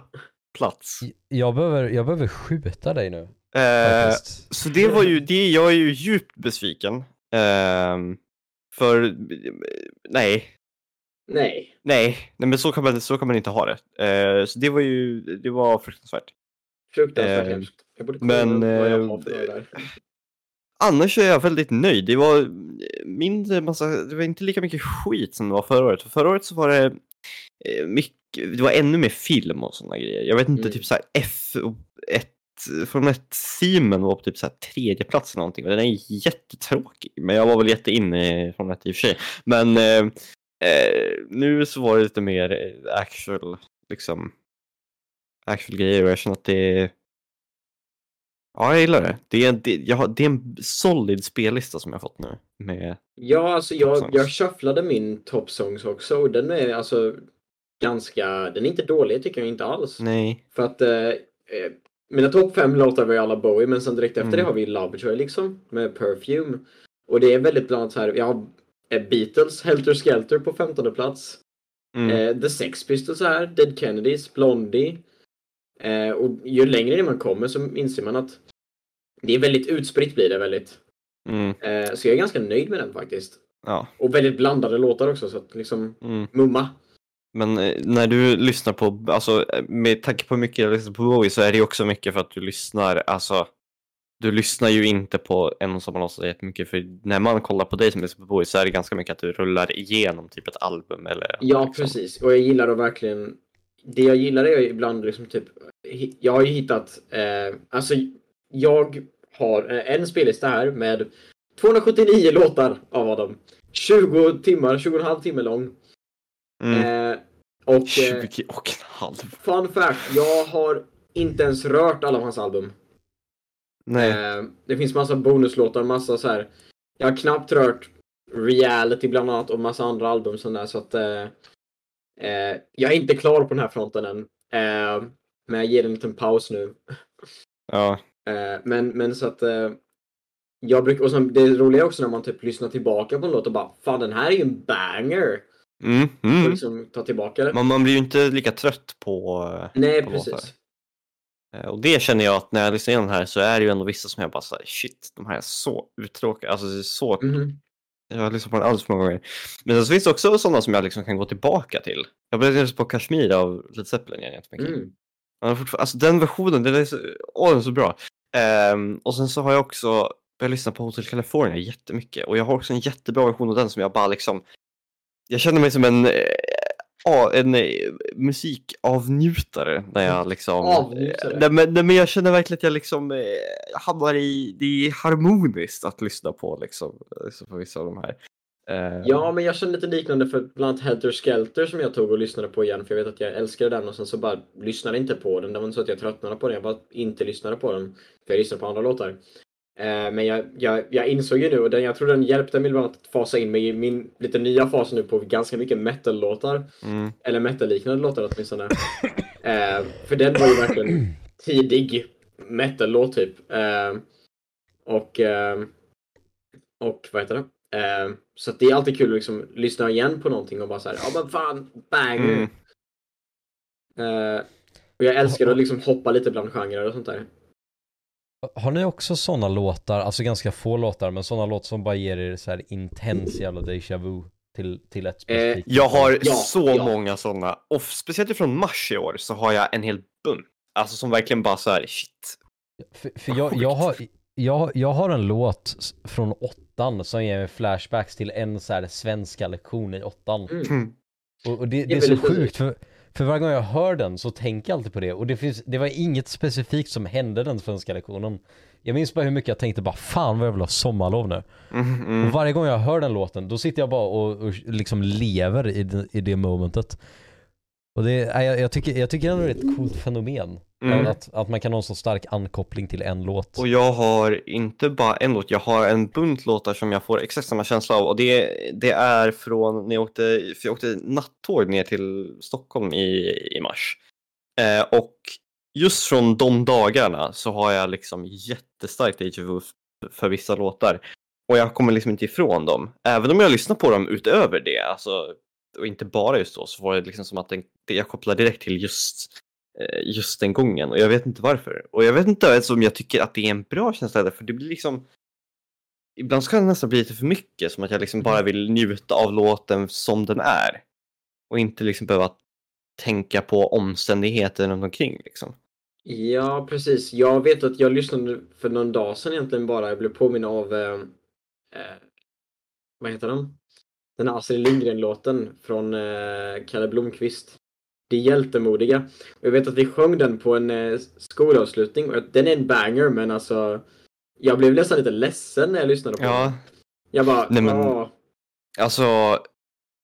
Speaker 2: plats.
Speaker 1: jag behöver, jag behöver skjuta dig nu.
Speaker 2: Eh,
Speaker 1: faktiskt.
Speaker 2: så det var ju det. Jag är ju djupt besviken. Ehm, för eh, nej,
Speaker 3: Nej.
Speaker 2: nej, nej, men så kan man, så kan man inte ha det. Eh, så det var ju, det var fruktansvärt.
Speaker 3: Fruktansvärt
Speaker 2: Eh,
Speaker 3: hemskt. Jag borde
Speaker 2: men,
Speaker 3: kolla vad jag
Speaker 2: eh,
Speaker 3: har för det där.
Speaker 2: Annars är jag väldigt nöjd. Det var mindre massa, det var inte lika mycket skit som det var förra året. För förra året så var det eh, mycket, det var ännu mer film och sådana grejer. Jag vet inte,
Speaker 3: Mm.
Speaker 2: typ såhär F1, Formel 1-simen var på typ såhär tredje plats eller någonting. Och den är jättetråkig. Men jag var väl jätteinne i Formel 1 i och för sig. Men eh, eh, nu så var det lite mer eh, actual, liksom, actual grejer och jag känner att det Ja, jag gillar det. Det är, en, det, jag har, det är en solid spellista som jag har fått nu. Med,
Speaker 3: Ja, alltså
Speaker 2: Top
Speaker 3: jag,
Speaker 2: songs.
Speaker 3: jag shufflade min Top Songs också och den är alltså ganska, den är inte dålig tycker jag inte alls.
Speaker 2: nej.
Speaker 3: För att eh, eh, mina topp fem låtar var ju alla Bowie men sen direkt efter
Speaker 2: Mm.
Speaker 3: det har vi Lovejoy liksom med Perfume. Och det är väldigt bland annat så här, jag har eh, Beatles, Helter Skelter på 15 plats.
Speaker 2: Mm.
Speaker 3: Eh, The Sex Pistols är här, Dead Kennedys, Blondie. Eh, och ju längre ner man kommer så inser man att det är väldigt utspritt blir det väldigt.
Speaker 2: Mm.
Speaker 3: Eh, så jag är ganska nöjd med den faktiskt.
Speaker 2: Ja.
Speaker 3: Och väldigt blandade låtar också så att liksom
Speaker 2: Mm.
Speaker 3: mumma.
Speaker 2: Men eh, när du lyssnar på, alltså eh, med tanke på hur mycket jag lyssnar på Bowie så är det ju också mycket för att du lyssnar, alltså du lyssnar ju inte på en och samma låt så jättemycket för när man kollar på dig som lyssnar på Bowie så är det ganska mycket att du rullar igenom typ ett album eller
Speaker 3: Ja,
Speaker 2: liksom.
Speaker 3: precis. Och jag gillar då verkligen... Det jag gillar är ibland liksom typ... hi- Jag har ju hittat... Eh, alltså, jag har eh, en spellista här med 279 låtar av dem. 20 timmar, 20 och en halv timme lång.
Speaker 2: Mm.
Speaker 3: Eh, och... Eh,
Speaker 2: 20 och en halv.
Speaker 3: fun fact, jag har inte ens rört alla hans album.
Speaker 2: Nej.
Speaker 3: Eh, det finns massa bonuslåtar, massa så här. Jag har knappt rört Reality bland annat och massa andra album sån där så att eh, eh, jag är inte klar på den här fronten än. Eh, men jag ger en liten paus nu.
Speaker 2: Ja.
Speaker 3: Eh, men, men så att eh, jag brukar, och sen det roliga är också när man typ lyssnar tillbaka på en låt och bara fan den här är ju en banger!
Speaker 2: Mm.
Speaker 3: Och
Speaker 2: Mm.
Speaker 3: liksom ta tillbaka det.
Speaker 2: Man, man blir ju inte lika trött på eh,
Speaker 3: Nej
Speaker 2: på låtar.
Speaker 3: precis.
Speaker 2: Eh, Och det känner jag att när jag lyssnar igenom här så är det ju ändå vissa som jag bara såhär shit, de här är så uttråkade, alltså det är så,
Speaker 3: Mhm.
Speaker 2: jag har lyssnat på den alldeles för många gånger. Men sen så finns det också sådana som jag liksom kan gå tillbaka till. Jag började lyssna på Kashmir av Led Zeppelin igen jättemycket.
Speaker 3: Mm.
Speaker 2: Den har fortfar- Alltså den versionen, den är så, åh den är så bra. Ehm, och sen så har jag också börjat lyssna på Hotel California jättemycket och jag har också en jättebra version av den som jag bara liksom, jag känner mig som en, eh, ja, en eh, musikavnjutare när jag liksom...
Speaker 3: Avnjutare.
Speaker 2: Nej men, nej men jag känner verkligen att jag liksom eh, jag hamnar i, det är harmoniskt att lyssna på liksom, liksom på vissa av de här. Ehm,
Speaker 3: Ja, men jag känner lite liknande för bland annat Helter Skelter som jag tog och lyssnade på igen för jag vet att jag älskade den och sen så bara lyssnade jag inte på den. Det var inte så att jag tröttnade på den, jag bara inte lyssnade på den. För jag lyssnade på andra låtar. Eh, men jag, jag, jag insåg ju nu och den, jag tror den hjälpte mig bland annat att fasa in mig i min lite nya fas nu på ganska mycket metal-låtar.
Speaker 2: Mm,
Speaker 3: Eller metal-liknande låtar åtminstone. eh, för den var ju verkligen tidig metal-låt typ. Eh, och, eh, och vad heter det? Eh, så att det är alltid kul att liksom lyssna igen på någonting och bara såhär, ja men fan, bang!
Speaker 2: mm.
Speaker 3: Eh, och jag älskar att liksom hoppa lite bland genrer och sånt där.
Speaker 1: Har ni också sådana låtar, alltså ganska få låtar, men sådana låtar som bara ger er så här intens jävla déjà vu till, till ett specifikt
Speaker 2: Eh, Jag har
Speaker 3: Ja,
Speaker 2: så
Speaker 3: ja.
Speaker 2: många sådana. Och speciellt från mars i år så har jag en hel bunt. Alltså som verkligen bara så här, shit.
Speaker 1: För, för jag, jag, har, jag, jag har en låt s- från åttan som ger mig flashbacks till en så här svenska lektion i åttan.
Speaker 3: Mm.
Speaker 2: Mm.
Speaker 1: Och, och det,
Speaker 3: är
Speaker 1: det är så
Speaker 3: väldigt
Speaker 1: sjukt för, för varje gång jag hör den så tänker jag alltid på det. Och det, finns, det var inget specifikt som hände den svenska lektionen. Jag minns bara hur mycket jag tänkte bara fan vad jag vill ha sommarlov nu.
Speaker 2: Mm,
Speaker 1: Och
Speaker 2: mm.
Speaker 1: varje gång jag hör den låten då sitter jag bara och, och liksom lever i det, i det momentet. Och det, är- jag, jag, tycker, jag tycker det är ett coolt fenomen.
Speaker 2: Mm.
Speaker 1: Att, att man kan ha en så stark ankoppling till en låt.
Speaker 2: Och jag har inte bara en låt, jag har en bunt låtar som jag får exakt samma känsla av. Och det, det är från när jag åkte, för jag åkte nattåg ner till Stockholm i, i mars. Eh, och just från de dagarna så har jag liksom jättestarkt déjà vu f- för vissa låtar. Och jag kommer liksom inte ifrån dem. Även om jag lyssnar på dem utöver det, alltså, och inte bara just då, så var det liksom som att den, det- jag kopplar direkt till just, eh, just den gången. Och jag vet inte varför. Och jag vet inte ens om jag tycker att det är en bra känsla, där, för det blir liksom... Ibland så kan det nästan bli lite för mycket, som att jag liksom bara vill njuta av låten som den är. Och inte liksom behöva tänka på omständigheter runt omkring liksom.
Speaker 3: Ja, precis. Jag vet att jag lyssnade för någon dag sedan egentligen bara. Jag blev påminn av, eh, eh, vad heter den? Den här Astrid Lindgren-låten från eh, Kalle Blomqvist. De hjältemodiga. Och jag vet att vi sjöng den på en eh, skolavslutning. Och Den är en banger, men alltså. Jag blev nästan lite ledsen när jag lyssnade på den.
Speaker 2: Ja,
Speaker 3: Jag bara, "Ah."
Speaker 2: Nej, men-
Speaker 3: "Åh."
Speaker 2: Alltså,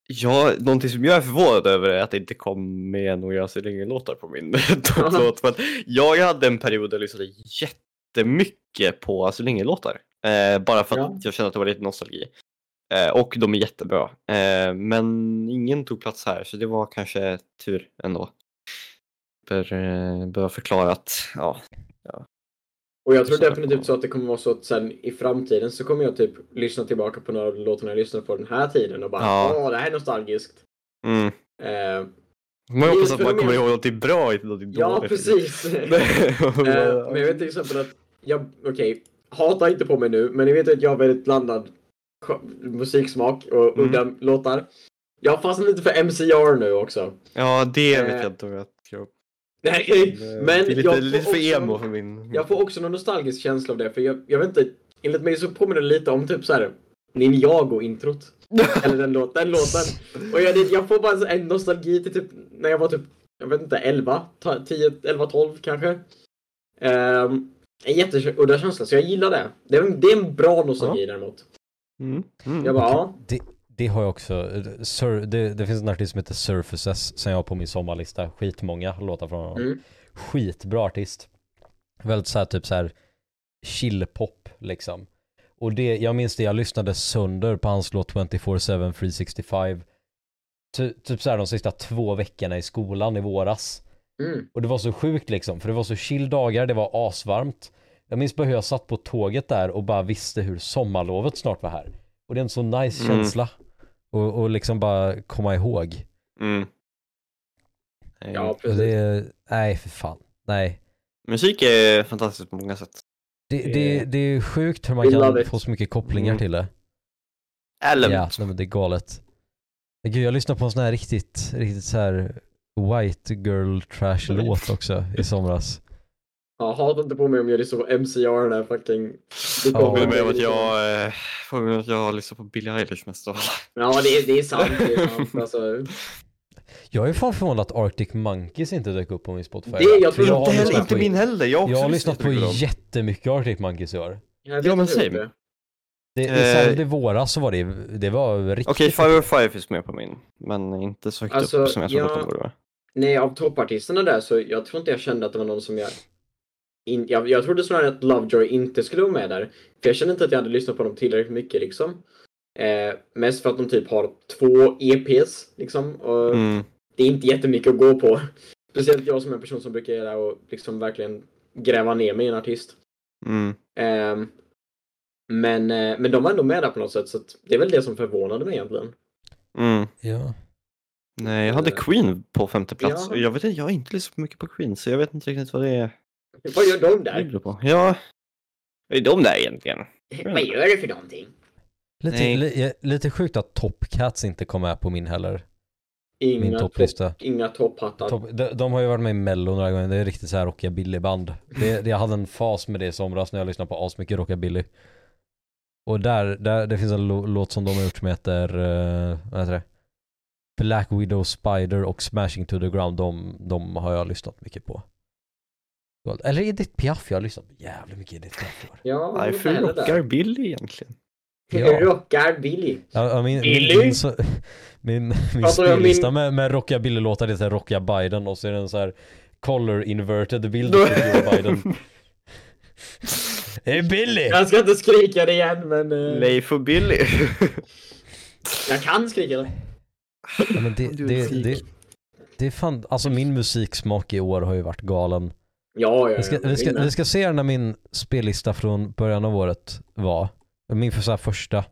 Speaker 2: ja, någonting som jag är förvånad över är att det inte kom med några Astrid Lindgren-låtar på min topp-låt. För att jag hade en period där jag lyssnade jättemycket på Asylingen-låtar. Eh, bara för att
Speaker 3: Ja.
Speaker 2: jag känner att det var lite nostalgi. Eh, och de är jättebra. Eh, men ingen tog plats här, så det var kanske tur ändå. Bör, eh, bör förklara att, ja.
Speaker 3: Och jag tror
Speaker 2: Så där
Speaker 3: definitivt så att det kommer vara så att sen i framtiden så kommer jag typ lyssna tillbaka på några av låtarna jag lyssnade på den här tiden och bara
Speaker 2: Ja.
Speaker 3: åh, det här är nostalgiskt.
Speaker 2: Mm.
Speaker 3: Eh,
Speaker 2: Man hoppas att man
Speaker 3: fenomen.
Speaker 2: kommer ihåg något bra och inte något dåligt.
Speaker 3: ja, precis. eh, men jag vet till exempel att jag, okej, hata inte på mig nu, men ni vet att jag har väldigt blandad sk- musiksmak och
Speaker 2: Mm.
Speaker 3: udda låtar. Jag har fastnat lite för MCR nu också.
Speaker 2: Ja, det vet
Speaker 3: Eh,
Speaker 2: jag inte om jag tror.
Speaker 3: Nej,
Speaker 2: det är
Speaker 3: men
Speaker 2: lite,
Speaker 3: jag får
Speaker 2: lite för
Speaker 3: också-
Speaker 2: emo för min...
Speaker 3: Jag får också någon nostalgisk känsla av det, för jag, jag vet inte, enligt mig så påminner det lite om typ så här Ninjago-introt. Eller den, låt, den låten. Och jag, det- jag får bara så- en nostalgi till typ när jag var typ, jag vet inte, 11, ta- 10, 11, 12 kanske. Um, en jätteudda känsla, så jag gillar det. Det är, en- det är en bra nostalgi däremot.
Speaker 2: Mm. Mm.
Speaker 3: Jag bara, ja.
Speaker 1: Det, det har jag också. eh, Sur, det, det finns en artist som heter Surfaces som jag har på min sommarlista. Skitmånga låtar från honom.
Speaker 3: Mm.
Speaker 1: Skitbra artist. Väldigt såhär typ såhär chillpop liksom. Och det, jag minns det, jag lyssnade sönder på hans låt 24-7 365. Ty, typ såhär de sista två veckorna i skolan i våras.
Speaker 3: Mm.
Speaker 1: Och det var så sjukt liksom, för det var så chill dagar, det var asvarmt. Jag minns bara hur jag satt på tåget där och bara visste hur sommarlovet snart var här. Och det är en så nice
Speaker 2: Mm.
Speaker 1: känsla. Och, och liksom bara komma ihåg.
Speaker 2: Mm. Eh,
Speaker 3: Ja,
Speaker 1: Och
Speaker 3: precis.
Speaker 1: det är, nej för fan. Nej.
Speaker 2: Musik är fantastiskt på många sätt.
Speaker 1: Det, det,
Speaker 3: Det-
Speaker 1: det, är sjukt hur
Speaker 3: We
Speaker 1: man
Speaker 3: love
Speaker 1: kan
Speaker 3: it.
Speaker 1: få så mycket kopplingar
Speaker 2: Mm.
Speaker 1: till det.
Speaker 2: Element.
Speaker 1: Ja, nej, men det är galet. Men Gud, jag lyssnade på en sån här riktigt, riktigt så här white girl trash låt också i somras.
Speaker 3: ja hata inte på mig om jag lyssnar på MCR där fucking. Det
Speaker 1: Ja.
Speaker 2: Påminner mig om
Speaker 3: mig
Speaker 2: att
Speaker 3: lite.
Speaker 2: jag, eh, påminner mig att jag lyssnar på Billie Eilish mest av alla.
Speaker 3: Ja, det, är- det är sant. Det är sant alltså.
Speaker 1: Jag är fan förvånad att Arctic Monkeys inte dök upp på min Spotify.
Speaker 3: Det- jag tror
Speaker 1: För har
Speaker 2: Inte, heller,
Speaker 1: lyssnat
Speaker 2: inte
Speaker 1: på-
Speaker 2: min heller. Jag, också
Speaker 1: Jag har lyssnat på
Speaker 2: jättemycket dem.
Speaker 1: jättemycket Arctic Monkeys i år.
Speaker 3: Jag vet
Speaker 2: Ja, men
Speaker 3: inte hur
Speaker 2: same.
Speaker 3: det är.
Speaker 1: Det, det,
Speaker 2: Eh.
Speaker 1: särskilt i våras så var det, det var riktigt...
Speaker 2: Okej, Fire of Five finns med på min. Men inte så högt
Speaker 3: Alltså,
Speaker 2: upp som jag trodde att
Speaker 3: jag-
Speaker 2: den borde vara.
Speaker 3: Nej, av toppartisterna där så jag tror inte jag kände att det var någon som jag... In, jag, jag trodde snarare att Lovejoy inte skulle vara med där. För jag kände inte att jag hade lyssnat på dem tillräckligt mycket liksom. Eh, mest för att de typ har två EPs liksom. Och
Speaker 2: Mm.
Speaker 3: Det är inte jättemycket att gå på. Speciellt jag som är en person som brukar göra och liksom verkligen gräva ner mig i en artist.
Speaker 2: Mm.
Speaker 3: Ehm, men, eh, men de var ändå med där på något sätt så att det är väl det som förvånade mig egentligen.
Speaker 2: Mm.
Speaker 1: Ja.
Speaker 2: Nej, jag hade
Speaker 3: Eh.
Speaker 2: Queen på femte plats.
Speaker 3: Ja.
Speaker 2: Och Jag, vet, inte- jag har inte lyssnat på mycket på Queen, så jag vet inte riktigt vad det är
Speaker 3: Vad gör de
Speaker 2: jag
Speaker 3: där?
Speaker 2: bjuder på. Ja, vad är de där egentligen?
Speaker 1: Mm.
Speaker 3: Vad gör det för någonting?
Speaker 1: Lite,
Speaker 2: Nej.
Speaker 1: li, lite sjukt att Top Cats inte kom med på min heller. Min
Speaker 3: Inga, topp,
Speaker 1: topplista.
Speaker 3: inga topphattar.
Speaker 1: Top, de, de har ju varit med i mello några gånger, det är riktigt såhär rockabillyband. Det, det, jag hade en fas med det i somras när jag lyssnade på asmycket rockabilly. Och där, där, det finns en lo- låt som de har gjort som heter, eh, vad heter det? Black Widow Spider och Smashing to the Ground, de, de har jag lyssnat mycket på. Gott. Eller Edith Piaf, jag har lyssnat på jävligt mycket Edith Piaf i år.
Speaker 3: Ja,
Speaker 2: Nej,
Speaker 3: inte
Speaker 2: för
Speaker 3: heller där.
Speaker 2: rockar Billy egentligen?
Speaker 1: Ja.
Speaker 3: Rockar Billy.
Speaker 1: Ja, ja, min,
Speaker 3: Billy?
Speaker 1: min, min, så, min, min
Speaker 3: Pratar du om
Speaker 1: spellista
Speaker 3: min-
Speaker 1: med, med rockabilly-låtar, det är så här rocka Biden och så är det en så här color inverted bild på Joe Biden. Hej Billy!
Speaker 3: Jag ska inte skrika det igen, men eh,
Speaker 2: Leif och Billy.
Speaker 3: jag kan skrika det.
Speaker 1: Ja, men det,
Speaker 2: Du är en
Speaker 1: det, det, det är fan, alltså min musiksmak i år har ju varit galen.
Speaker 3: Ja, ja, ja.
Speaker 1: Vi ska, vi ska, vi ska se när min spellista från början av året var. Min för så här första.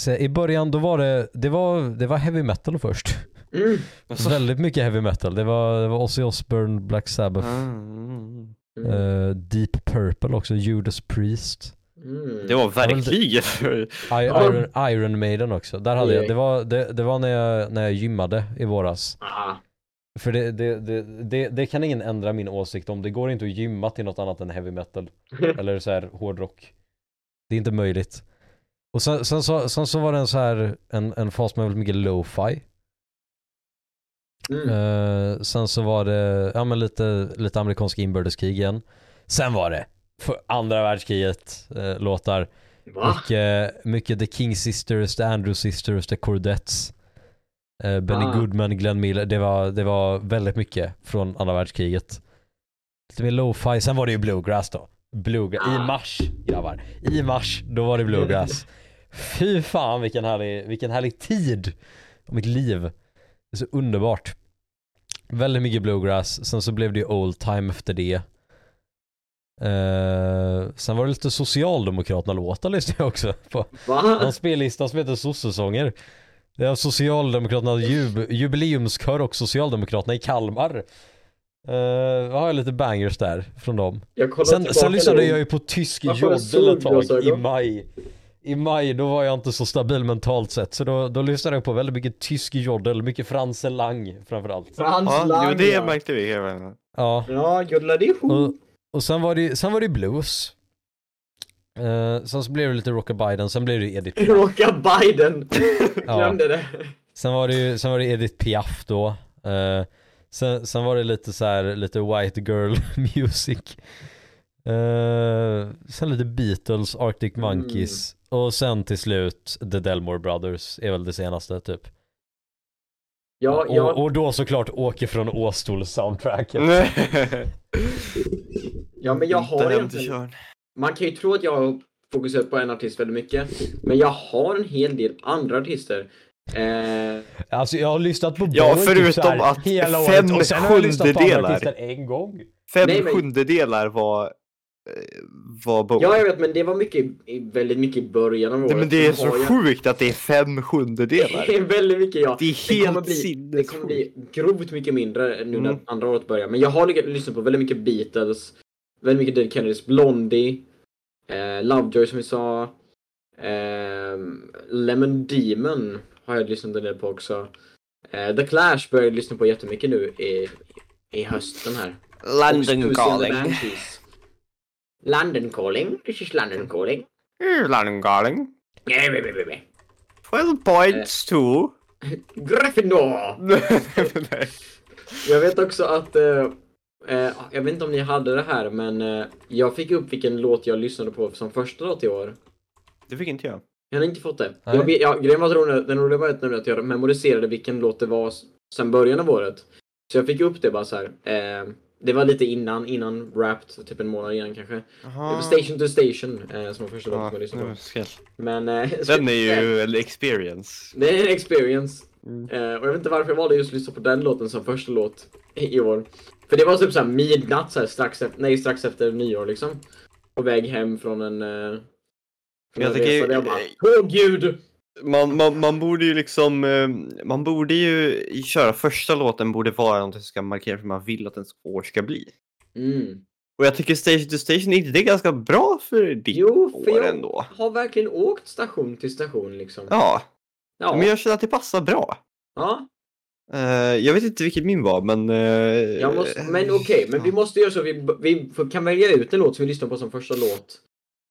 Speaker 1: Så I början då var det, det var, det var heavy metal först.
Speaker 3: Mm.
Speaker 2: Alltså.
Speaker 1: Väldigt mycket heavy metal. Det var, det var Ozzy Osbourne, Black Sabbath,
Speaker 2: Mm.
Speaker 3: Mm.
Speaker 1: eh, Deep Purple också, Judas Priest,
Speaker 3: Mm.
Speaker 2: Det var
Speaker 1: lite-
Speaker 2: verkligen.
Speaker 1: I,
Speaker 3: Ja.
Speaker 1: Iron, Iron Maiden också. Där hade jag, det var, det, det var när, jag, när jag gymmade i våras.
Speaker 3: Ah,
Speaker 1: För det, det, det, det, det kan ingen ändra min åsikt om. Det går inte att gymma till något annat än heavy metal. Eller så här hårdrock. Det är inte möjligt. Och sen, sen, så, sen så var det en så här, en, en fas med väldigt mycket lo-fi.
Speaker 3: mm.
Speaker 1: Eh, sen så var det, ja men lite, lite amerikanska inbördeskrig igen. Sen var det för andra världskriget eh, låtar.
Speaker 3: Va?
Speaker 1: Mycket, eh, mycket The King Sisters, The Andrews Sisters, The Cordettes. eh, Benny
Speaker 3: Ah.
Speaker 1: Goodman, Glenn Miller. Det var, det var väldigt mycket från andra världskriget. Lite mer lo-fi. Sen var det ju bluegrass då. Bluegrass.
Speaker 3: Ah.
Speaker 1: I mars grabbar. I mars, då var det bluegrass. Fy fan vilken härlig, vilken härlig tid av mitt liv. Det är så underbart. Väldigt mycket bluegrass. Sen så blev det ju old time efter det. Eh, sen var det lite Socialdemokraterna-låtar lyssnade jag också på.
Speaker 3: Va?
Speaker 1: Någon spellista som heter sossesånger. Det är Socialdemokraterna jub, jubileumskör och Socialdemokraterna i Kalmar. Uh, har jag lite bangers där från dem.
Speaker 3: Jag kollar
Speaker 1: Sen,
Speaker 3: tillbaka
Speaker 1: sen lyssnade
Speaker 3: nu.
Speaker 1: jag ju på tysk
Speaker 3: Varför har jag
Speaker 1: joddel ett tag i
Speaker 3: solglasögon?
Speaker 1: maj. I maj då var jag inte så stabil mentalt sett så då, då lyssnade jag på väldigt mycket tysk joddel, mycket Frans Lang framförallt.
Speaker 3: Frans
Speaker 2: Ja, jo,
Speaker 3: Lang,
Speaker 2: det
Speaker 3: ja.
Speaker 2: märkte vi. hela vägen.
Speaker 1: Ja.
Speaker 3: Ja, Jodladihoo.
Speaker 1: Och, och sen var det ju- sen var det ju blues. Eh, sen så blev det lite Rockabiden, sen blev det ju Edith Piaf.
Speaker 3: Råka Biden.
Speaker 1: Ja.
Speaker 3: Glömde det.
Speaker 1: Sen var det ju, sen var det Edith Piaf då. Eh, sen, sen var det lite så här, lite white girl music. Eh, sen lite Beatles,
Speaker 2: Mm.
Speaker 1: Arctic Monkeys och sen till slut The Delmore Brothers är väl det senaste typ.
Speaker 3: Ja, jag,
Speaker 1: Och, och då såklart Åke från Åstol soundtracket.
Speaker 2: Mm.
Speaker 3: ja, men jag
Speaker 2: Inte
Speaker 3: har
Speaker 2: hem till
Speaker 3: egentligen...
Speaker 2: Tjörn.
Speaker 3: Man kan ju tro att jag har fokuserat på en artist väldigt mycket. Men jag har en hel del andra artister. Eh,
Speaker 1: Alltså jag har lyssnat på
Speaker 2: Ja,
Speaker 1: Bowie typ
Speaker 2: förutom
Speaker 1: så här
Speaker 2: att
Speaker 1: hela
Speaker 2: fem
Speaker 1: året och sen har jag lyssnat på andra
Speaker 2: sjundedelar-
Speaker 1: artister en gång.
Speaker 2: Fem
Speaker 3: Nej, men-
Speaker 2: sjundedelar var, eh, var Bowie.
Speaker 3: ja, jag vet, men det var mycket, i- väldigt mycket i början av året.
Speaker 2: Nej, men det är
Speaker 3: Nu
Speaker 2: så
Speaker 3: har jag-
Speaker 2: sjukt att det är fem sjundedelar.
Speaker 3: Det är väldigt mycket, ja.
Speaker 2: Det är
Speaker 3: det kommer
Speaker 2: helt
Speaker 3: bli, det kommer bli grovt mycket mindre nu när
Speaker 2: Mm.
Speaker 3: andra året börjar. Men jag har lyckats lyssna på väldigt mycket Beatles, väldigt mycket Dead Kennedys, Blondie, eh, Lovejoy som vi sa, ehm, Lemon Demon har jag lyssnat en del på också. Eh, The Clash börjar jag lyssna på jättemycket nu i, i hösten här. Och Stussy and the Banshees. London calling, this is London calling.
Speaker 2: Eh, London calling.
Speaker 3: Nej, nej, nej, nej, nej.
Speaker 2: Twelve
Speaker 3: Eh.
Speaker 2: points to...
Speaker 3: Gryffindor!
Speaker 2: Nej.
Speaker 3: Jag vet också att, eh, eh, jag vet inte om ni hade det här, men eh, jag fick upp vilken låt jag lyssnade på som första låt i år.
Speaker 2: det fick inte jag.
Speaker 3: Jag har inte fått det.
Speaker 1: Nej.
Speaker 3: Jag, vet- ja, grejen var att rolig, den roliga var att nämligen att jag memoriserade vilken låt det var s- sen början av året. Så jag fick upp det bara så här. Eh, det var lite innan, innan Wrapped, typ en månad innan kanske. Det var
Speaker 2: Ah.
Speaker 3: Station to Station eh, som var första låten
Speaker 2: Ja,
Speaker 3: jag lyssnade på.
Speaker 2: nu ska-
Speaker 3: Men, eh,
Speaker 2: Ah, Den är ju en experience.
Speaker 3: Det är en experience.
Speaker 2: Mm.
Speaker 3: Eh, och jag vet inte varför jag valde just att lyssna på den låten som första låt i år. För det var typ såhär midnatt såhär, strax, efter, nej, strax efter nyår liksom. På väg hem från en... Eh, från
Speaker 2: Jag
Speaker 3: en
Speaker 2: tycker ju- eh,
Speaker 3: resa där jag bara Åh gud!
Speaker 2: Man, man, man borde ju liksom, eh, man borde ju köra första låten borde vara någonting som ska markera hur man vill att ens år ska bli.
Speaker 3: Mm.
Speaker 2: Och jag tycker Station to Station, är inte det är ganska bra för ditt
Speaker 3: Jo, för
Speaker 2: år
Speaker 3: jag-
Speaker 2: ändå?
Speaker 3: Har verkligen åkt station till station liksom.
Speaker 2: Ja,
Speaker 3: Ja.
Speaker 2: men jag känner att det passar bra.
Speaker 3: ja.
Speaker 2: Eh, jag vet inte vilket min var, men... eh,
Speaker 3: Jag måste, men okej, men vi måste göra så vi, vi får- kan välja ut en låt som vi lyssnar på som första låt.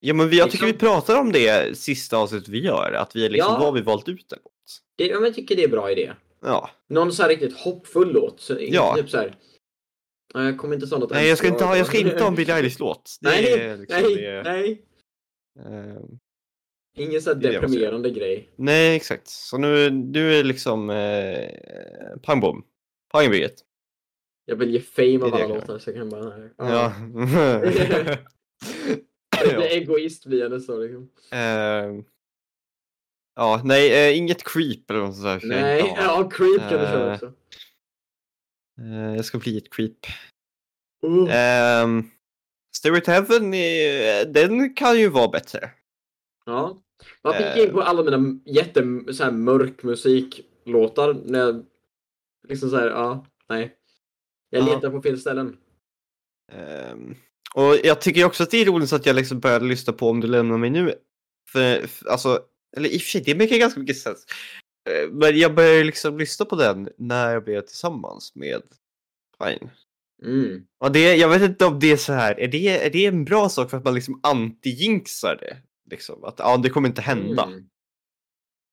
Speaker 2: Ja, men vi, jag tycker vi
Speaker 3: liksom-
Speaker 2: pratar om det sista avsnittet vi gör, att vi liksom,
Speaker 3: Ja.
Speaker 2: då har vi valt ut en låt.
Speaker 3: Det, ja, men jag tycker det är en bra idé.
Speaker 2: Ja.
Speaker 3: Någon så här riktigt hoppfull låt. Så,
Speaker 2: Ja.
Speaker 3: Typ så här. Nej, jag kommer inte så något.
Speaker 2: Nej, jag ska inte ha, jag ska inte ha en Billie Eilish-låt. Det
Speaker 3: Nej,
Speaker 2: är liksom
Speaker 3: nej,
Speaker 2: det-
Speaker 3: nej.
Speaker 2: eh,
Speaker 3: Ingen sån
Speaker 2: Det är det jag måste
Speaker 3: deprimerande grej.
Speaker 2: Nej, exakt. Så nu, nu är det liksom eh, pang bom. Pang Birgit.
Speaker 3: Jag vill ge fame av
Speaker 2: Det är det
Speaker 3: alla
Speaker 2: jag kan
Speaker 3: låtar så jag kan bara... Nej.
Speaker 2: Ja.
Speaker 3: Jag blir egoist via nästa år liksom.
Speaker 2: Eh, ja, nej, eh, inget creep eller något sånt där. ska jag
Speaker 3: Nej,
Speaker 2: inte ha.
Speaker 3: ja, creep kan du köra
Speaker 2: Eh.
Speaker 3: också.
Speaker 2: Eh, jag ska bli ett creep.
Speaker 3: Oh.
Speaker 2: Um, Stairway to Heaven, är, den kan ju vara bättre.
Speaker 3: Ja. Varför gick
Speaker 2: eh.
Speaker 3: jag in på alla mina jätte så här, mörk musiklåtar när jag liksom såhär, ja, nej. Jag
Speaker 2: Ja.
Speaker 3: letar på fel ställen.
Speaker 2: Ehm, och jag tycker också att det är roligt att jag liksom började lyssna på Om du lämnar mig nu. För, för, alltså, eller i och för sig, det mycket ganska mycket sens. Eh, Men jag började liksom lyssna på den när jag blev tillsammans med Fine.
Speaker 3: Mm.
Speaker 2: Och det, jag vet inte om det är så här, är det, är det en bra sak för att man liksom anti-jinxar det? Liksom, att ja, det kommer inte hända.
Speaker 3: Mm.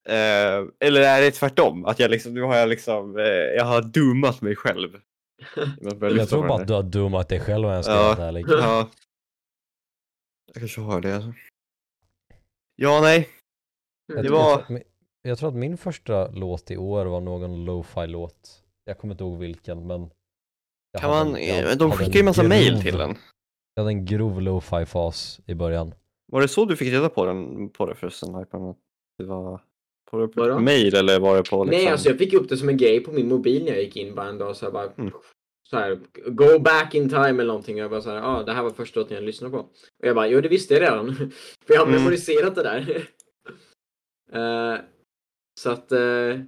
Speaker 2: Eh, eller är det tvärtom? Att jag liksom, nu har jag liksom, eh, jag har doomat mig själv. Jag, börjar
Speaker 1: Jag
Speaker 2: lyssna
Speaker 1: tror
Speaker 2: på
Speaker 1: bara
Speaker 2: den
Speaker 1: att du har dummat dig själv om jag ska
Speaker 2: Ja.
Speaker 1: vara liksom. helt ärlig.
Speaker 2: Ja. Jag kanske har det. alltså. Ja, nej.
Speaker 1: Jag,
Speaker 2: Det
Speaker 1: tror-
Speaker 2: var-
Speaker 1: jag, tror- jag tror att min första låt i år var någon lo-fi låt. Jag kommer inte ihåg vilken men Jag
Speaker 2: Kan
Speaker 1: hade
Speaker 2: man,
Speaker 1: en- jag
Speaker 2: eh, de
Speaker 1: hade
Speaker 2: skickar ju massa
Speaker 1: grov-
Speaker 2: mail till en.
Speaker 1: Jag hade en grov lo-fi fas i början.
Speaker 2: Var det så du fick reda på, den, på det förresten? Lajpan? Att Det var på, på
Speaker 3: Vadå?
Speaker 2: ett mail eller var det på liksom...
Speaker 3: Nej, alltså jag fick upp det som en grej på min mobil när jag gick in bara en dag. Så jag bara,
Speaker 2: Mm.
Speaker 3: så här, go back in time eller någonting. Och jag bara så här, ah, det här var första låten jag lyssnade på. Och jag bara, jo det visste jag redan. För jag har
Speaker 2: Mm.
Speaker 3: memoriserat det där. Eh, så att, eh,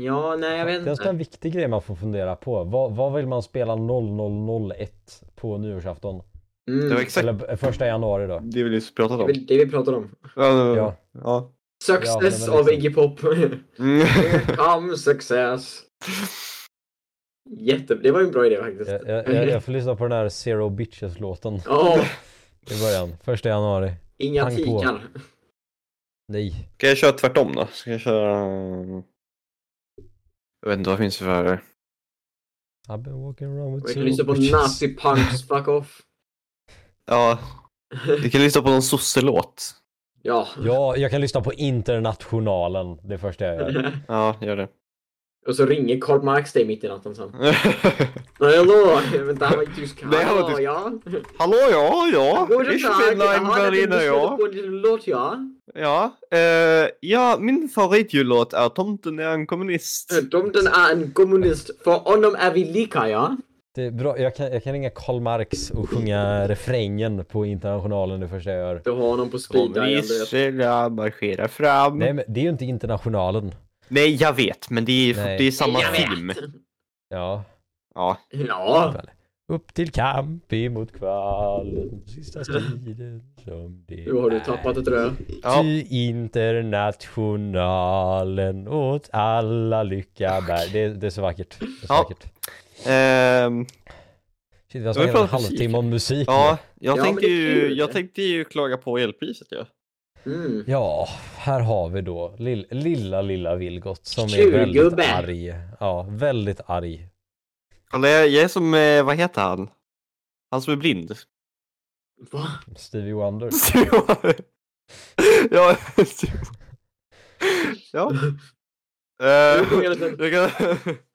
Speaker 3: ja, nej jag
Speaker 1: Det
Speaker 3: vet
Speaker 1: är en sån här
Speaker 3: inte.
Speaker 1: viktig grej man får fundera på. Vad, vad vill man spela 0001 på nyårsafton?
Speaker 2: Det var
Speaker 3: Mm,
Speaker 2: exakt
Speaker 1: Eller eh, första januari då?
Speaker 2: det vi nyss pratade
Speaker 3: det
Speaker 2: om.
Speaker 3: är det vi pratar om.
Speaker 2: Ja.
Speaker 1: Ja.
Speaker 2: ja. ja.
Speaker 1: Ja, men
Speaker 3: Success
Speaker 1: liksom-
Speaker 3: av Iggy Pop.
Speaker 2: Mm.
Speaker 3: Here come success. Jätte, det var ju en bra idé faktiskt.
Speaker 1: Jag, jag, jag, jag får lyssna på den här Zero Bitches-låten
Speaker 3: Åh,
Speaker 1: i början. Första januari.
Speaker 3: inga
Speaker 1: Pang på.
Speaker 3: tikar.
Speaker 1: Nej.
Speaker 2: Ska jag köra tvärtom då? Ska jag köra... ehm, Jag vet inte vad det finns för...
Speaker 1: I've been walking around with
Speaker 3: Vi kan
Speaker 1: zero
Speaker 3: lyssna på
Speaker 1: bitches.
Speaker 3: Nazi Punks Fuck Off.
Speaker 2: Ja, vi kan lyssna på någon sosselåt.
Speaker 3: ja.
Speaker 1: Ja, jag kan lyssna på Internationalen. Det första jag gör.
Speaker 2: Ja, gör det.
Speaker 3: Och så ringer Karl Marx dig mitt i natten sen. Nej, Hallå! Vänta, han var ju tysk.
Speaker 2: Nej, han var
Speaker 3: Hallå,
Speaker 2: tysk.
Speaker 3: ja.
Speaker 2: Hallå ja, ja.
Speaker 3: Guten
Speaker 2: Ich
Speaker 3: Tag!
Speaker 2: bin ein
Speaker 3: Jaha, du
Speaker 2: Berliner
Speaker 3: lyssnade
Speaker 2: ja.
Speaker 3: på en liten låt, ja.
Speaker 2: Ja, eh, ja, min favoritjullåt är Tomten är en kommunist.
Speaker 3: Eh, Tomten är en kommunist. För honom är vi lika, ja.
Speaker 1: Det är bra. Jag, kan, jag kan ringa Karl Marx och sjunga refrängen på Internationalen det första jag gör.
Speaker 3: Du har honom på speed dial. du vet.
Speaker 2: Kommunisterna marscherar fram.
Speaker 1: Nej
Speaker 2: Nej.
Speaker 1: men det är ju inte Internationalen.
Speaker 2: jag vet, men det är,
Speaker 1: Nej.
Speaker 2: det är samma
Speaker 3: Jag vet.
Speaker 2: film.
Speaker 1: Ja.
Speaker 2: Ja,
Speaker 3: Ja.
Speaker 1: Upp till kamp emot kvalen, sista striden som det
Speaker 3: Nu har du
Speaker 1: är.
Speaker 3: tappat ett rö.
Speaker 2: ja.
Speaker 1: Ty internationalen åt alla lycka bär. Det, det är så vackert. Det är så
Speaker 2: Ja.
Speaker 1: vackert.
Speaker 2: Ehm,
Speaker 1: Shit, vi har
Speaker 2: Jag vill
Speaker 1: snackat en
Speaker 2: prata musik.
Speaker 1: halvtimme om musik
Speaker 2: ja
Speaker 1: nu.
Speaker 2: jag,
Speaker 3: Ja, men
Speaker 2: tänkte
Speaker 3: det är
Speaker 2: ju,
Speaker 3: kul.
Speaker 2: jag tänkte ju klaga på elpriset ju. Ja.
Speaker 3: Mm.
Speaker 1: Ja, här har vi då lill, lilla, lilla Vilgot som är
Speaker 3: Tjurgubbe.
Speaker 1: väldigt arg. Ja, väldigt arg.
Speaker 2: Kolla, jag, jag är som, eh, vad heter han? Han som är blind.
Speaker 3: Va?
Speaker 1: Stevie Wonder.
Speaker 2: ja. ja. Eh, jag kan...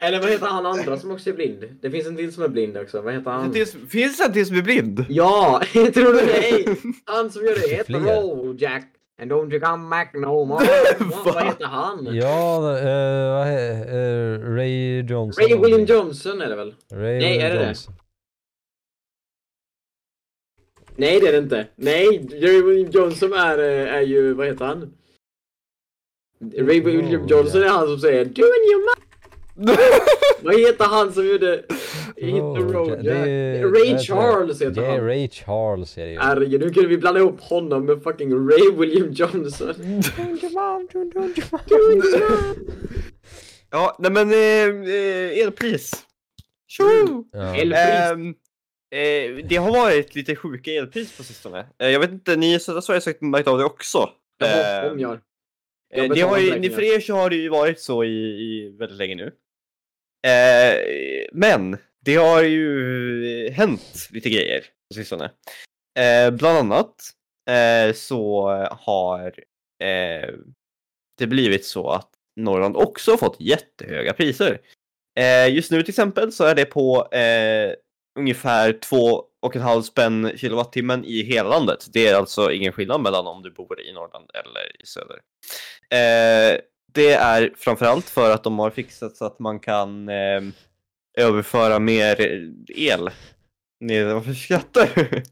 Speaker 3: Eller vad heter han andra som också är blind? Det finns en till som är blind också. Vad heter han?
Speaker 2: Det- Finns det en till som är blind?
Speaker 3: Ja, tror du det? Han som gör det heter
Speaker 1: Fler.
Speaker 3: Jack. And don't you come back no more.
Speaker 2: Va?
Speaker 3: Vad heter han?
Speaker 1: Ja, eh, vad he- eh, Ray Johnson.
Speaker 3: Ray William Johnson är det väl?
Speaker 1: Ray
Speaker 3: Nej,
Speaker 1: William
Speaker 3: är det det?
Speaker 1: Johnson.
Speaker 3: Nej det är det inte. Nej, Ray William Johnson är, eh, är ju, vad heter han? Ray William
Speaker 1: Oh,
Speaker 3: Johnson är han som säger Do and your ma-" Vad heter han som gjorde Hit the
Speaker 1: Road,
Speaker 3: road
Speaker 1: det
Speaker 3: Jack?
Speaker 1: är-
Speaker 3: Ray
Speaker 1: jag tror det.
Speaker 3: Charles
Speaker 1: Det
Speaker 3: heter
Speaker 1: är
Speaker 3: han. Ah.
Speaker 1: Ray Charles är det ju.
Speaker 3: Herregud, hur kunde vi blanda ihop honom med fucking Ray William Johnson?
Speaker 2: Ja, nej men eh, eh, elpris. Tjo!
Speaker 1: Ja.
Speaker 3: Elpris.
Speaker 2: Ehm, eh, det har varit lite sjuka elpris på sistone. Eh, jag vet inte, ni i södra Sverige har säkert märkt av det också.
Speaker 3: Jag
Speaker 2: Ehm,
Speaker 3: om jag.
Speaker 2: Eh,
Speaker 3: Jag
Speaker 2: Det har
Speaker 3: betalar
Speaker 2: ju,
Speaker 3: räkningar.
Speaker 2: för er så har det ju varit så i, i väldigt länge nu. Eh, men det har ju hänt lite grejer på sistone. Eh, bland annat eh, så har eh, det blivit så att Norrland också har fått jättehöga priser. Eh, just nu till exempel så är det på eh, ungefär två och en halv spänn kilowattimmen i hela landet. Det är alltså ingen skillnad mellan om du bor i Norrland eller i söder. Eh, det är framförallt för att de har fixat så att man kan eh, överföra mer el. Nej, varför skrattar du?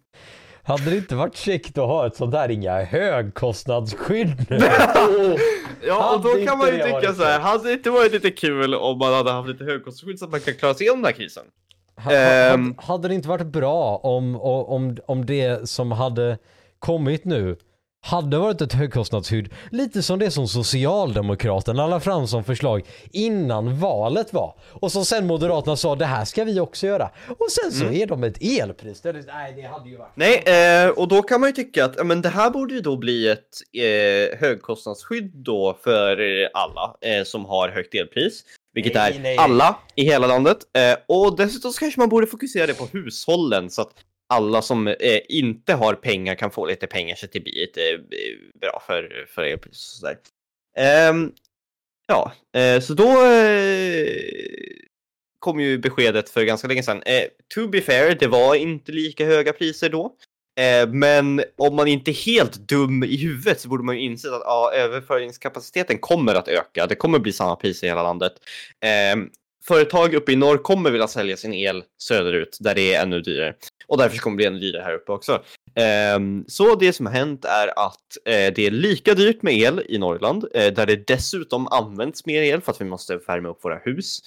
Speaker 1: Hade det inte varit käckt att ha ett sånt här inga högkostnadsskydd nu?
Speaker 3: Åh,
Speaker 2: Ja, och
Speaker 1: Hade
Speaker 2: då kan man ju
Speaker 1: inte det
Speaker 2: tycka
Speaker 1: varit
Speaker 2: så här,
Speaker 1: fett?
Speaker 2: hade det inte varit lite kul om man hade haft lite högkostnadsskydd så att man kan klara sig igenom den här krisen?
Speaker 1: Ha- ha-
Speaker 2: Ehm.
Speaker 1: hade- Hade det inte varit bra om, o- om, om det som hade kommit nu hade varit ett högkostnadsskydd, lite som det som Socialdemokraterna la fram som förslag innan valet var. Och som sen Moderaterna sa, det här ska vi också göra. Och sen så är de ett elpris. Det är, nej, det hade ju varit...
Speaker 2: Nej, eh, och då kan man ju tycka att ja, men det här borde ju då bli ett eh, högkostnadsskydd då för eh, alla eh, som har högt elpris. Vilket
Speaker 1: Nej,
Speaker 2: är
Speaker 1: nej, nej.
Speaker 2: alla i hela landet. Eh, och dessutom så kanske man borde fokusera det på hushållen så att alla som eh, inte har pengar kan få lite pengar så att det blir lite eh, bra för, för elpris och sådär. Ehm, ja, eh, så då eh, kom ju beskedet för ganska länge sedan. Eh, to be fair, det var inte lika höga priser då. Eh, men om man inte är helt dum i huvudet så borde man ju inse att ja, överföringskapaciteten kommer att öka. Det kommer bli samma priser i hela landet. Eh, företag uppe i norr kommer vilja sälja sin el söderut där det är ännu dyrare och därför kommer det bli ännu dyrare här uppe också. Ehm, Så det som har hänt är att eh, det är lika dyrt med el i Norrland eh, där det dessutom används mer el för att vi måste värma upp våra hus.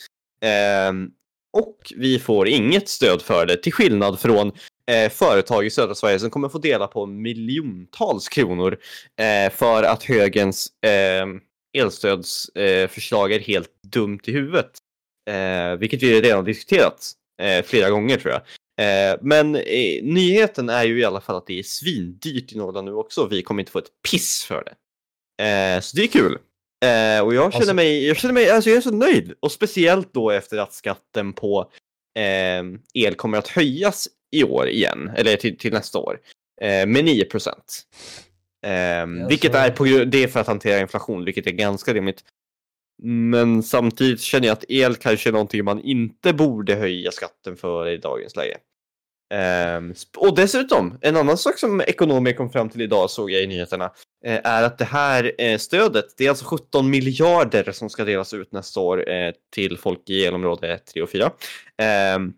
Speaker 2: Ehm, Och vi får inget stöd för det till skillnad från eh, företag i södra Sverige som kommer få dela på miljontals kronor eh, för att högens eh, elstödsförslag är helt dumt i huvudet. Eh, vilket vi redan diskuterat eh, flera gånger tror jag. Eh, men eh, nyheten är ju i alla fall att det är svindyrt i Norrland nu också. Vi kommer inte få ett piss för det. Eh, så det är kul. Eh, och jag känner
Speaker 1: Alltså-
Speaker 2: mig, jag känner mig, alltså jag är så nöjd. Och speciellt då efter att skatten på eh, el kommer att höjas i år igen, eller till, till nästa år, eh, med 9 procent. Ehm,
Speaker 1: Ja,
Speaker 2: vilket
Speaker 1: så-
Speaker 2: är på gru- det är för att hantera inflation, vilket är ganska rimligt. Men samtidigt känner jag att el kanske är någonting man inte borde höja skatten för i dagens läge. Ehm, sp- och dessutom, en annan sak som ekonomer kom fram till idag såg jag i nyheterna eh, är att det här eh, stödet, det är alltså 17 miljarder som ska delas ut nästa år eh, till folk i elområde 3 och 4. Ehm,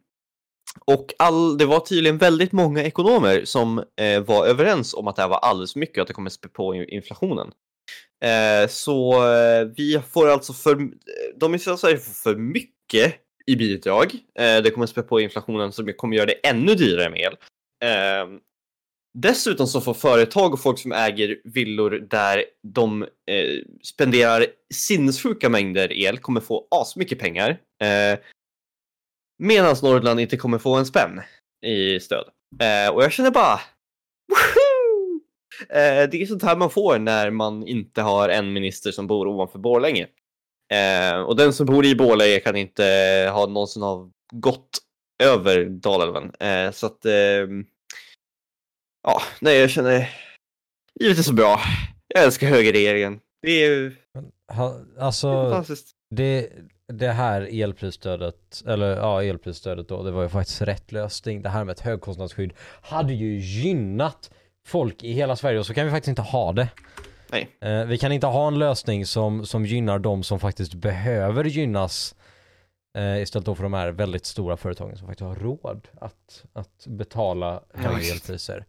Speaker 2: och all, det var tydligen väldigt många ekonomer som eh, var överens om att det här var alldeles för mycket och att det kommer spä på in- inflationen. Eh, så eh, vi får alltså för, de i södra Sverige får för mycket i bidrag. Eh, det kommer spä på inflationen som kommer göra det ännu dyrare med el. Eh, dessutom så får företag och folk som äger villor där de eh, spenderar sinnessjuka mängder el kommer få asmycket pengar. Eh, Medan Norrland inte kommer få en spänn i stöd. Eh, och jag känner bara, woohoo! Eh, det är sånt här man får när man inte har en minister som bor ovanför Borlänge. Eh, och den som bor i Borlänge kan inte ha någonsin ha gått över Dalälven. Eh, så att, ehm, ja, nej jag känner, livet är så bra. Jag älskar högerregeringen. Det är ju
Speaker 1: Ha,
Speaker 2: det är
Speaker 1: alltså,
Speaker 2: fantastiskt.
Speaker 1: det, det här elprisstödet, eller ja, elprisstödet då, det var ju faktiskt rätt lösning. Det här med ett högkostnadsskydd hade ju gynnat folk i hela Sverige och så kan vi faktiskt inte ha det.
Speaker 2: Nej.
Speaker 1: Eh, vi kan inte ha en lösning som, som gynnar de som faktiskt behöver gynnas eh, istället då för de här väldigt stora företagen som faktiskt har råd att, att betala högre
Speaker 2: visst.
Speaker 1: elpriser.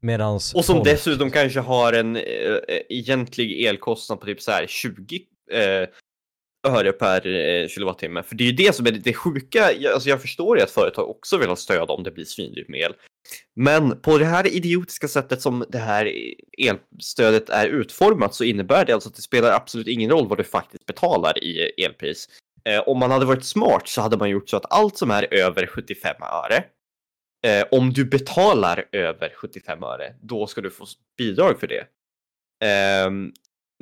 Speaker 1: Medans
Speaker 2: Och som
Speaker 1: folk-
Speaker 2: dessutom kanske har en eh, eh, egentlig elkostnad på typ så här 20 eh, öre per eh, kilowattimme. För det är ju det som är det sjuka. Jag, alltså jag förstår ju att företag också vill ha stöd om det blir svindyrt med el. Men på det här idiotiska sättet som det här elstödet är utformat så innebär det alltså att det spelar absolut ingen roll vad du faktiskt betalar i elpris. Eh, om man hade varit smart så hade man gjort så att allt som är över 75 öre Eh, om du betalar över 75 öre, då ska du få s- bidrag för det. Ehm,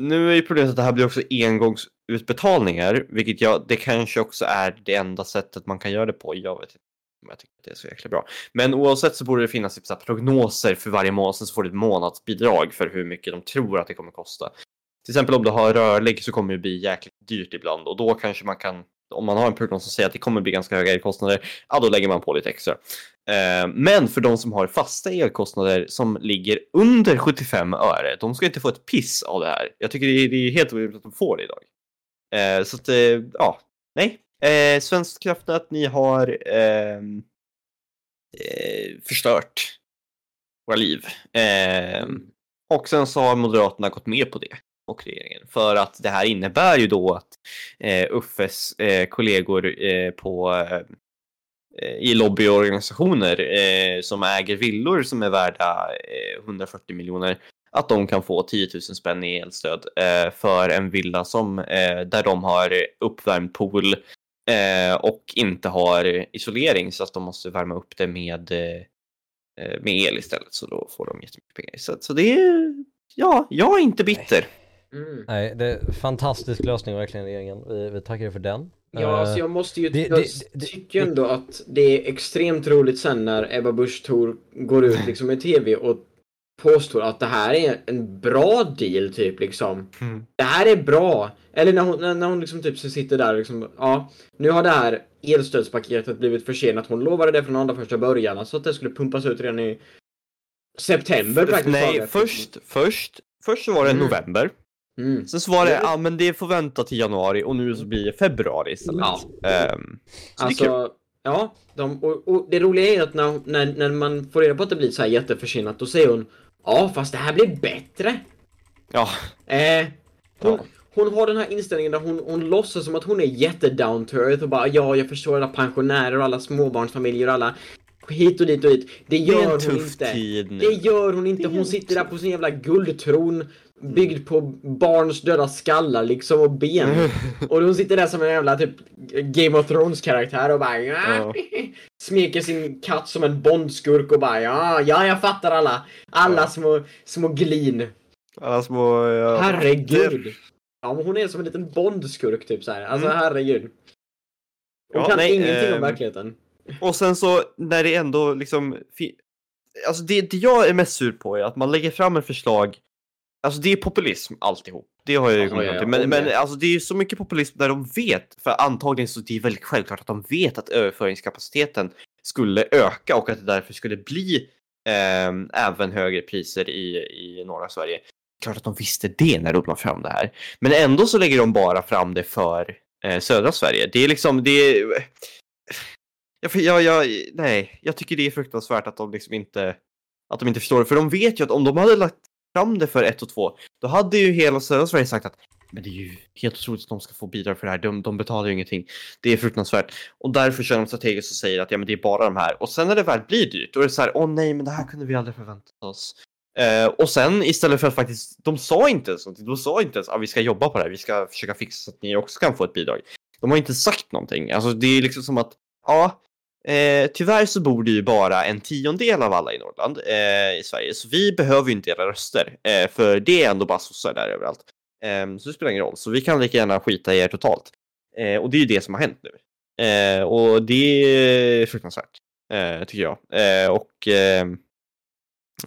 Speaker 2: nu är ju problemet att det här blir också engångsutbetalningar, vilket jag, det kanske också är det enda sättet man kan göra det på. Jag vet inte om jag tycker att det är så jäkla bra. Men oavsett så borde det finnas typ så här prognoser för varje månad, sen så får du ett månadsbidrag för hur mycket de tror att det kommer kosta. Till exempel om du har rörlig så kommer det bli jäkligt dyrt ibland och då kanske man kan, om man har en prognos som säger att det kommer bli ganska höga elkostnader, ja då lägger man på lite extra. Eh, Men för de som har fasta elkostnader som ligger under 75 öre, de ska inte få ett piss av det här. Jag tycker det är, det är helt orimligt att de får det idag. Eh, Så att, eh, ja, nej. Eh, Svenskt kraftnät, ni har ehm, eh, förstört våra liv. Ehm, och sen så har Moderaterna gått med på det och regeringen. För att det här innebär ju då att eh, Uffes eh, kollegor eh, på eh, eh, i lobbyorganisationer eh, som äger villor som är värda eh, 140 miljoner att de kan få 10 000 spänn i elstöd eh, för en villa som, eh, där de har uppvärmd pool eh, och inte har isolering så att de måste värma upp det med, eh, eh, med el istället så då får de jättemycket pengar. Så, så det är, ja, jag är inte bitter.
Speaker 3: Mm.
Speaker 1: Nej, det är en fantastisk lösning verkligen regeringen. Vi, vi tackar er för den. Eh,
Speaker 3: Ja, alltså jag måste ju...
Speaker 1: det-
Speaker 3: jag
Speaker 1: det- det-
Speaker 3: tycker ändå att det är extremt roligt sen när Ebba Busch Thor går ut liksom i TV och påstår att det här är en bra deal typ liksom.
Speaker 2: Mm.
Speaker 3: Det här är bra! Eller när hon, när, när hon liksom typ så sitter där och liksom, ja, nu har det här elstödspaketet blivit försenat. Hon lovade det från allra första början, alltså att det skulle pumpas ut redan i september praktiskt
Speaker 2: Nej,
Speaker 3: taget.
Speaker 2: först, först, först så var det
Speaker 3: Mm.
Speaker 2: november.
Speaker 3: Mm.
Speaker 2: Sen så var det,
Speaker 3: Ja, det-
Speaker 2: ja ah, men det får vänta till januari och nu så blir det februari istället.
Speaker 3: Ja.
Speaker 2: Ehm, så det är kul.
Speaker 3: Alltså, ja. De, och, och det roliga är att när, när, när man får reda på att det blir så här jätteförsenat, då säger hon Ja, fast det här blir bättre.
Speaker 2: Ja,
Speaker 3: Eh, hon,
Speaker 2: Ja.
Speaker 3: hon har den här inställningen där hon, hon låtsas som att hon är jättedown to earth och bara ja, jag förstår alla pensionärer och alla småbarnsfamiljer och alla hit och dit och dit. Det
Speaker 2: det
Speaker 3: gör
Speaker 2: är en
Speaker 3: hon
Speaker 2: tuff
Speaker 3: inte.
Speaker 2: tid nu.
Speaker 3: Det gör hon inte.
Speaker 2: Det är
Speaker 3: Hon
Speaker 2: en
Speaker 3: sitter där på sin jävla guldtron byggd på barns döda skallar liksom och
Speaker 2: Mm.
Speaker 3: ben. Och hon sitter där som en jävla typ Game of Thrones-karaktär och bara ja.
Speaker 2: Ja.
Speaker 3: smeker sin katt som en bondskurk och bara ja, ja, jag fattar alla. Alla
Speaker 2: Ja.
Speaker 3: små, små glin.
Speaker 2: Alla små... Ja.
Speaker 3: Herregud! Ja, men hon är som en liten bondskurk typ så här. Alltså
Speaker 2: Mm.
Speaker 3: herregud. Hon
Speaker 2: Ja,
Speaker 3: kan
Speaker 2: nej,
Speaker 3: ingenting om
Speaker 2: ehm,
Speaker 3: verkligheten.
Speaker 2: Och sen så när det ändå liksom... fi- Alltså det, det jag är mest sur på är att man lägger fram ett förslag. Alltså det är populism alltihop. Det har jag ju
Speaker 3: Ja,
Speaker 2: kommit
Speaker 3: ja,
Speaker 2: fram till.
Speaker 3: ja, om
Speaker 2: Men, men
Speaker 3: det.
Speaker 2: alltså det är ju så mycket populism där de vet, för antagligen så det är väldigt självklart att de vet att överföringskapaciteten skulle öka och att det därför skulle bli ehm, även högre priser i, i norra Sverige. Klart att de visste det när de la fram det här. Men ändå så lägger de bara fram det för eh, södra Sverige. Det är liksom, det är... Jag, jag, jag, nej, jag tycker det är fruktansvärt att de liksom inte, att de inte förstår det. För de vet ju att om de hade lagt fram det för ett och två, då hade ju hela södra Sverige sagt att men det är ju helt otroligt att de ska få bidrag för det här. De, de betalar ju ingenting. Det är fruktansvärt. Och därför kör de strategiskt och säger att ja, men det är bara de här. Och sen när det väl blir dyrt, då är det så här, åh nej, men det här kunde vi aldrig förvänta oss. Eh, och sen istället för att faktiskt, de sa inte ens någonting. De sa inte ens att ah, vi ska jobba på det här. Vi ska försöka fixa så att ni också kan få ett bidrag. De har inte sagt någonting. Alltså det är liksom som att, ja, eh, tyvärr så bor det ju bara en tiondel av alla i Norrland eh, i Sverige. Så vi behöver ju inte era röster. Eh, för det är ändå bara sossar där överallt. Ehm, så det spelar ingen roll. Så vi kan lika gärna skita i er totalt. Eh, och det är ju det som har hänt nu. Eh, och det är fruktansvärt, eh, tycker jag. Eh, och ehm,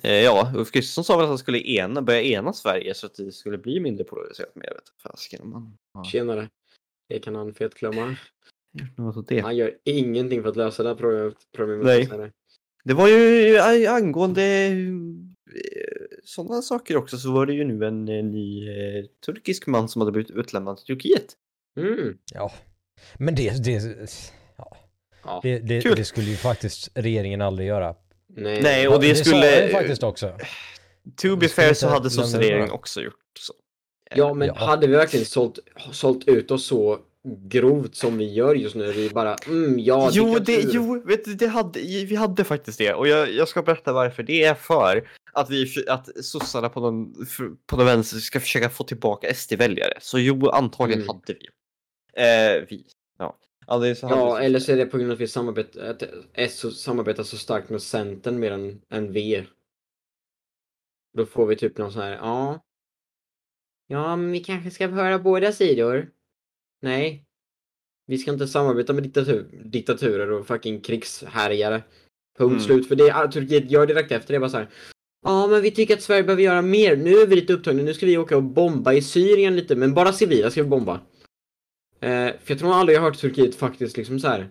Speaker 2: eh, ja, Ulf Kristersson sa väl att han skulle ena, börja ena Sverige så att det skulle bli mindre polariserat. Men jag vet inte fasiken om han har
Speaker 3: Tjenare. Det kan han fet glömma.
Speaker 2: gjort något åt det.
Speaker 3: Han gör ingenting för att lösa det här problemet. problemet
Speaker 2: Nej.
Speaker 3: så här.
Speaker 2: Det var ju eh, angående sådana saker också så var det ju nu en eh, ny eh, turkisk man som hade blivit utlämnad till Turkiet.
Speaker 3: Mm.
Speaker 1: Ja. Men det, det, ja.
Speaker 3: Ja.
Speaker 1: det, det,
Speaker 2: Kul.
Speaker 1: det skulle ju faktiskt regeringen aldrig göra.
Speaker 3: Nej.
Speaker 2: Nej, och
Speaker 1: Ja,
Speaker 2: det
Speaker 1: sa jag ju
Speaker 2: skulle...
Speaker 1: faktiskt också.
Speaker 2: To
Speaker 1: Vi
Speaker 2: be
Speaker 1: skulle
Speaker 2: fair så
Speaker 1: inte lämna
Speaker 2: hade sosseregeringen
Speaker 1: det.
Speaker 2: också gjort så. Eh,
Speaker 3: Ja, men
Speaker 1: Ja.
Speaker 3: hade vi verkligen sålt, sålt ut oss så grovt som vi gör just nu? Vi bara, mm, ja,
Speaker 2: jo, det,
Speaker 3: diktatur.
Speaker 2: jo vet du, det hade, vi hade faktiskt det och jag, jag ska berätta varför. Det är för att, vi, för- att sossarna på den, för- på den vänster ska försöka få tillbaka SD-väljare. Så jo, antagligen
Speaker 3: Mm.
Speaker 2: hade vi. Eh, vi. Ja, Antagligen så hade
Speaker 3: Ja,
Speaker 2: vi-
Speaker 3: eller så är det på grund av att vi samarbetar, att S samarbetar så starkt med Centern mer än, än V. Då får vi typ någon sån här, ja. Ja, men vi kanske ska höra båda sidor. Nej. Vi ska inte samarbeta med diktatur, diktaturer och fucking krigshärjare. Punkt
Speaker 2: Mm.
Speaker 3: slut. För det är- ah, Turkiet gör direkt efter det bara så här. Ja, men vi tycker att Sverige behöver göra mer. Nu är vi lite upptagna. Nu ska vi åka och bomba i Syrien lite, men bara civila ska vi bomba. Eh, för jag tror aldrig jag har hört Turkiet faktiskt liksom så här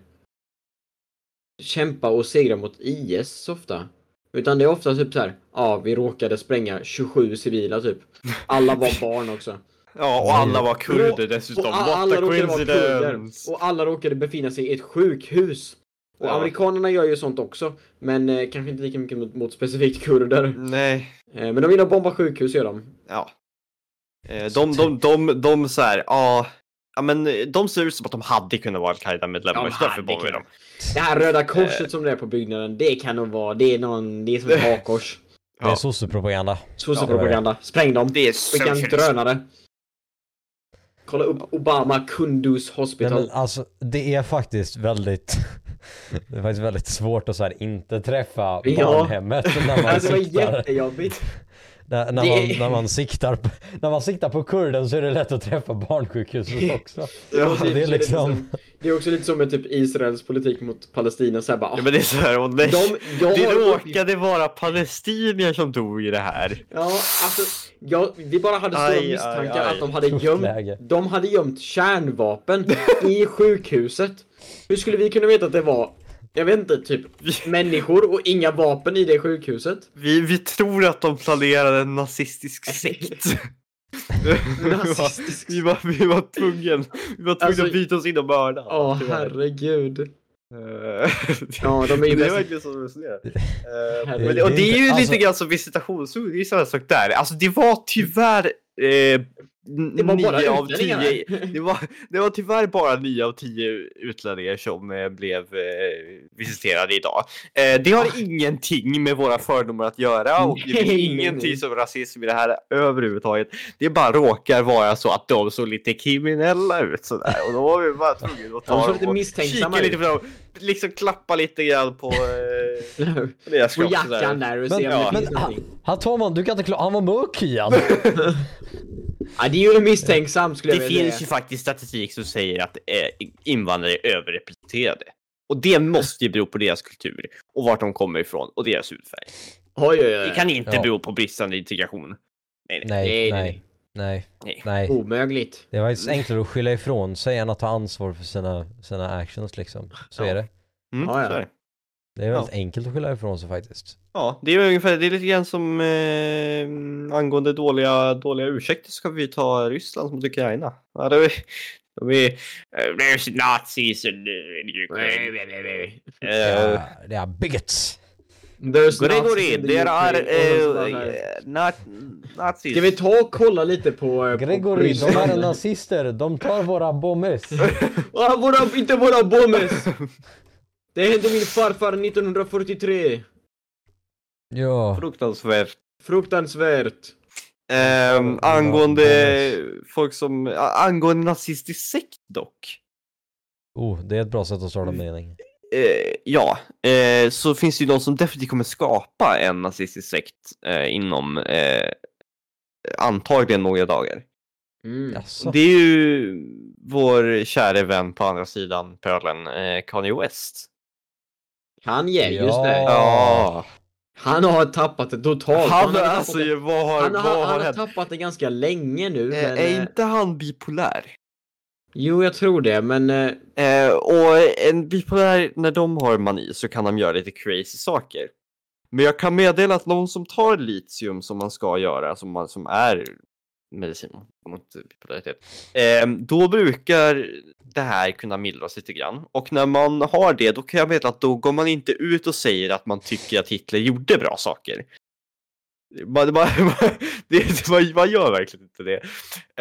Speaker 3: kämpa och segra mot IS så ofta. Utan det är ofta typ så här, ja vi råkade spränga 27 civila typ. Alla var barn också.
Speaker 2: ja, och alla var kurder dessutom.
Speaker 3: Och a-
Speaker 2: What
Speaker 3: alla
Speaker 2: a
Speaker 3: råkade vara kurder.
Speaker 2: coincidence!
Speaker 3: Och alla råkade befinna sig i ett sjukhus. Och
Speaker 2: Ja.
Speaker 3: amerikanerna gör ju sånt också. Men eh, kanske inte lika mycket mot, mot specifikt kurder.
Speaker 2: Nej,
Speaker 3: Eh, men de gillar att bomba sjukhus gör de.
Speaker 2: ja. Eh, De, de, de, de, de så här, ja. Ja men eh, de ser ut som att de hade kunnat vara Al-Qaida-medlemmar
Speaker 3: De
Speaker 2: så därför
Speaker 3: hade
Speaker 2: bombade vi
Speaker 3: kunnat.
Speaker 2: dem.
Speaker 3: Det här röda
Speaker 2: Eh.
Speaker 3: korset som det är på byggnaden, det kan nog vara, det är någon, det är som ett hakkors.
Speaker 1: Det är
Speaker 2: Ja.
Speaker 1: sossepropaganda.
Speaker 3: Sossepropaganda. Spräng dem.
Speaker 2: Eh. Det är
Speaker 3: Skicka en
Speaker 2: socialism.
Speaker 3: drönare. Kolla upp Obama Kunduz
Speaker 1: Nej,
Speaker 3: Hospital.
Speaker 1: men alltså, det är faktiskt väldigt... Det är faktiskt väldigt svårt att så här inte träffa
Speaker 3: Ja.
Speaker 1: barnhemmet när man
Speaker 3: alltså, det var
Speaker 1: siktar.
Speaker 3: jättejobbigt.
Speaker 1: När, när, man,
Speaker 3: Det-
Speaker 1: när, man siktar, på- när man siktar på kurden så är det lätt att träffa barnsjukhuset också.
Speaker 2: Ja,
Speaker 3: Och
Speaker 1: det är
Speaker 3: lite
Speaker 1: liksom-
Speaker 3: som- det är också lite som med typ Israels politik mot Palestina så här bara, ah,
Speaker 2: Ja, men det är så här, och nej.
Speaker 3: De- jag
Speaker 2: det
Speaker 3: har-
Speaker 2: råkade vara palestinier som dog i det här.
Speaker 3: Ja, alltså, ja, vi bara hade
Speaker 2: Aj,
Speaker 3: stora
Speaker 2: aj,
Speaker 3: misstankar
Speaker 2: aj.
Speaker 3: att de hade gömt,
Speaker 1: Läge.
Speaker 3: de hade gömt kärnvapen i sjukhuset. Hur skulle vi kunna veta att det var, jag vet inte, typ människor och inga vapen i det sjukhuset?
Speaker 2: Vi, vi tror att de planerade en nazistisk sekt. Vi var-
Speaker 3: Nazistisk.
Speaker 2: vi, var, vi var tvungna, vi var tvungna
Speaker 3: Alltså-
Speaker 2: att byta oss in och mörda.
Speaker 3: Ja,
Speaker 2: tyvärr.
Speaker 3: herregud.
Speaker 2: Eh,
Speaker 3: Ja, de är
Speaker 2: det är
Speaker 3: ju bäst.
Speaker 2: verkligen så de resonerar. Eh,
Speaker 3: Herregud.
Speaker 2: men det- Och det är ju
Speaker 1: Alltså-
Speaker 2: lite grann som visitationszoner, det är samma sak där. Alltså det var tyvärr eh,
Speaker 3: Det var bara
Speaker 2: nio av
Speaker 3: utlänningar
Speaker 2: tio
Speaker 3: där.
Speaker 2: Det var, det var tyvärr bara 9 av 10 utlänningar som eh, blev eh, visiterade idag. Eh, det har ingenting med våra fördomar att göra och det
Speaker 3: Nej,
Speaker 2: är
Speaker 3: Ah. nej,
Speaker 2: ingenting
Speaker 3: nej.
Speaker 2: som rasism i det här överhuvudtaget. Det bara råkar vara så att de såg lite kriminella ut sådär och då var vi bara tvungna att
Speaker 3: De
Speaker 2: ta
Speaker 3: såg
Speaker 2: dem
Speaker 3: lite
Speaker 2: och
Speaker 3: misstänksamma
Speaker 2: kika lite
Speaker 3: ut.
Speaker 2: på dem. Liksom klappa lite grann på, eh, på deras
Speaker 3: På
Speaker 2: kropp. sådär.
Speaker 3: jackan där och
Speaker 1: Men-
Speaker 3: se om
Speaker 2: ja.
Speaker 3: det finns
Speaker 1: Men han,
Speaker 3: någonting.
Speaker 1: han Torman, du kan inte klara... Han var mörk igen.
Speaker 3: Ja, det är ju misstänksamt skulle jag
Speaker 2: Det
Speaker 3: vilja
Speaker 2: finns ju
Speaker 3: säga.
Speaker 2: faktiskt statistik som säger att eh, invandrare är överrepresenterade. Och det måste ju bero på deras kultur och vart de kommer ifrån och deras hudfärg.
Speaker 3: Oj, oj, oj.
Speaker 2: Det kan inte
Speaker 1: Ja.
Speaker 2: bero på bristande integration. Nej, nej.
Speaker 1: Nej, nej, nej,
Speaker 2: nej.
Speaker 3: Oh.
Speaker 1: nej.
Speaker 3: Omöjligt.
Speaker 1: Det var faktiskt enklare att skylla ifrån sig än att ta ansvar för sina, sina actions liksom. Så
Speaker 2: Ja.
Speaker 1: är det.
Speaker 2: Mm,
Speaker 3: Ja, ja.
Speaker 2: så är det.
Speaker 1: Det är väldigt enkelt att skylla ifrån sig faktiskt.
Speaker 2: ja, det är ungefär, det är lite grann som eh, angående dåliga, dåliga ursäkter ska vi ta Ryssland mot Ukraina. Ja, det är, de är, eh, there's nazis in in Ukraine. Eh,
Speaker 1: Ja, det är bigots.
Speaker 3: There's
Speaker 2: Gregory,
Speaker 3: Nazis in the
Speaker 2: there
Speaker 3: UK.
Speaker 2: are
Speaker 3: Och de
Speaker 2: eh,
Speaker 3: som bara, nej.
Speaker 2: eh, not, nazis.
Speaker 3: Ska vi ta och kolla lite på... eh, på
Speaker 1: Gregory, de
Speaker 3: Ryssland?
Speaker 1: är nazister. De tar våra bommes.
Speaker 3: Ah, våra, inte våra bommes! Det hände min farfar 1943.
Speaker 1: Ja.
Speaker 2: Fruktansvärt.
Speaker 3: Fruktansvärt.
Speaker 2: Ehm,
Speaker 1: Ja,
Speaker 2: angående
Speaker 1: Boris.
Speaker 2: folk som, a- angående nazistisk sekt dock.
Speaker 1: Oh, det är ett bra sätt att starta en mening.
Speaker 2: Eh, ja, eh, så finns det ju de som definitivt kommer skapa en nazistisk sekt eh, inom eh, antagligen några dagar.
Speaker 3: Mm.
Speaker 1: Jaså?
Speaker 2: Det är ju vår käre vän på andra sidan pölen, eh, Kanye West.
Speaker 3: Han ger, just
Speaker 1: Ja.
Speaker 3: det.
Speaker 2: Ja,
Speaker 3: Han har tappat det totalt.
Speaker 2: han,
Speaker 3: har
Speaker 2: alltså
Speaker 3: tappat det-
Speaker 2: vad har,
Speaker 3: han,
Speaker 2: vad
Speaker 3: har, han
Speaker 2: har
Speaker 3: har
Speaker 2: hänt?
Speaker 3: tappat det ganska länge nu.
Speaker 2: Eh,
Speaker 3: Men,
Speaker 2: är
Speaker 3: eh,
Speaker 2: inte han bipolär?
Speaker 3: Jo, jag tror det, men... eh,
Speaker 2: Eh, och en bipolär, när de har mani så kan de göra lite crazy saker. Men jag kan meddela att någon som tar litium som man ska göra, som, man, som är medicin mot bipolaritet, eh, då brukar det här kunna mildras lite grann. Och när man har det, då kan jag meddela att då går man inte ut och säger att man tycker att Hitler gjorde bra saker. Man, man, det, man, man gör verkligen inte det.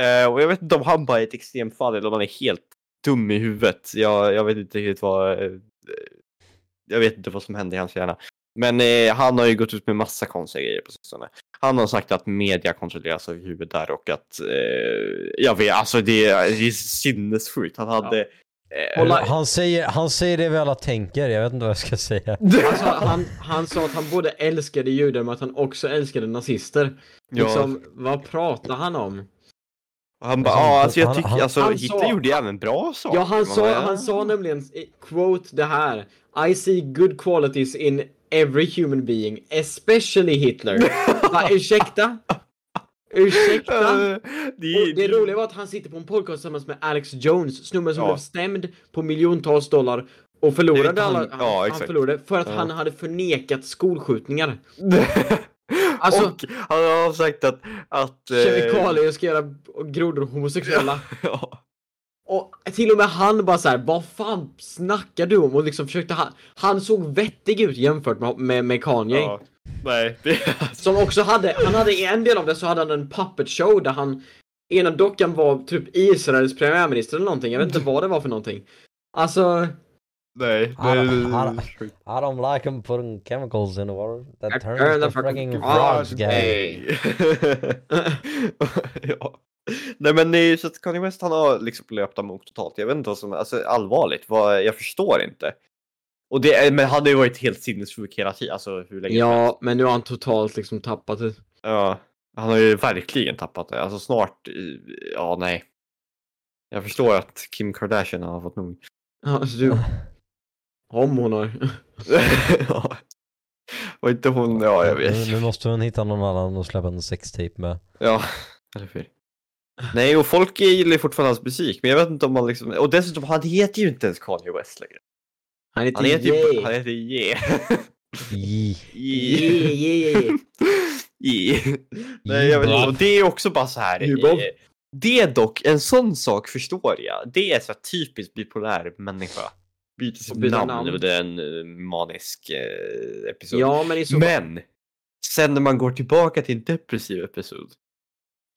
Speaker 2: Eh, och jag vet inte om han bara är ett extremfall eller om han är helt dum i huvudet. Jag, jag vet inte riktigt vad... eh, Jag vet inte vad som hände i hans hjärna. Men eh, han har ju gått ut med massa konstiga grejer på sistone. Han har sagt att media kontrolleras av judar och att... Eh, jag vet, alltså det, är- det är sinnessjukt. Han hade... eh,
Speaker 3: Hålla-
Speaker 1: Han säger, han säger det vi alla tänker. Jag vet inte vad jag ska säga.
Speaker 3: Alltså, han, han sa att han både älskade judar men att han också älskade nazister.
Speaker 2: ja,
Speaker 3: Liksom, vad pratar han om?
Speaker 2: han bara,
Speaker 1: Alltså,
Speaker 2: ja alltså jag
Speaker 1: han-
Speaker 2: tycker,
Speaker 1: han-
Speaker 2: alltså
Speaker 3: han
Speaker 2: Hitler
Speaker 3: sa-
Speaker 2: gjorde ju även bra saker.
Speaker 3: Ja, han
Speaker 2: Man
Speaker 3: sa,
Speaker 2: bara, ja.
Speaker 3: han sa nämligen, eh, quote det här. I see good qualities in every human being, especially Hitler. Va, ursäkta? Ursäkta?
Speaker 2: Eh,
Speaker 3: Och det roliga var att han sitter på en podcast tillsammans med Alex Jones, snubben som
Speaker 2: Ja.
Speaker 3: blev stämd på miljontals dollar och förlorade
Speaker 2: Det- han-
Speaker 3: alla, han,
Speaker 2: ja,
Speaker 3: han
Speaker 2: exakt.
Speaker 3: förlorade för att
Speaker 2: Ja.
Speaker 3: han hade förnekat skolskjutningar. Alltså-
Speaker 2: Alltså... Och han har sagt att... att eh,
Speaker 3: Kemikalier ska göra grodor homosexuella.
Speaker 2: ja.
Speaker 3: Och till och med han bara såhär, vad fan snackar du om? Och liksom försökte han, han såg vettig ut jämfört med, med, med Kanye.
Speaker 2: Ja. Nej, det, alltså,
Speaker 3: Som också hade, han hade i en del av det så hade han en puppet show där han Ena dockan var typ Israels premiärminister eller någonting, jag vet inte vad det var för någonting. Alltså,
Speaker 2: nej.
Speaker 1: Har-
Speaker 2: det-
Speaker 1: har- I don't like them putting chemicals in the water. That
Speaker 3: turn
Speaker 1: turns
Speaker 3: the
Speaker 1: the fucking
Speaker 3: fucking
Speaker 1: frogs
Speaker 2: Ah,
Speaker 3: frogs
Speaker 1: gay.
Speaker 3: gay.
Speaker 2: ja. Nej men det är ju så att Kanye West han har liksom löpt amok totalt. Jag vet inte vad som, alltså allvarligt, vad, jag förstår inte. Och det, är- men han har ju varit helt sinnessjuk hela tiden, alltså hur länge som helst.
Speaker 3: ja, men nu har han totalt liksom tappat det.
Speaker 2: ja. Han har ju verkligen tappat det. Alltså snart, eh, ja nej. Jag förstår att Kim Kardashian har fått nog.
Speaker 3: Ja, du. Om hon har.
Speaker 2: ja. Och inte hon, ja jag vet.
Speaker 1: Nu, nu måste hon hitta någon annan att släppa en sextape med.
Speaker 2: Ja, eller hur? Nej, och folk gillar ju fortfarande hans musik, men jag vet inte om man liksom... Och dessutom, han heter ju inte ens Kanye West längre.
Speaker 3: Han heter,
Speaker 2: Han heter ju... Han
Speaker 3: Ye.
Speaker 2: heter Ye.
Speaker 1: I.
Speaker 2: Ye.
Speaker 3: Ye, ye, ye.
Speaker 2: Ye. Nej, jag vet inte. Och det är också bara så här...
Speaker 3: Jubel.
Speaker 2: eh, Det är dock, en sån sak förstår jag. Det är så här typiskt bipolär människa. Byter sitt
Speaker 3: Och byter
Speaker 2: namn,
Speaker 3: namn.
Speaker 2: namn. Det är en eh, manisk eh, episod.
Speaker 3: Ja, men i så fall.
Speaker 2: Men sen när man går tillbaka till en depressiv episod.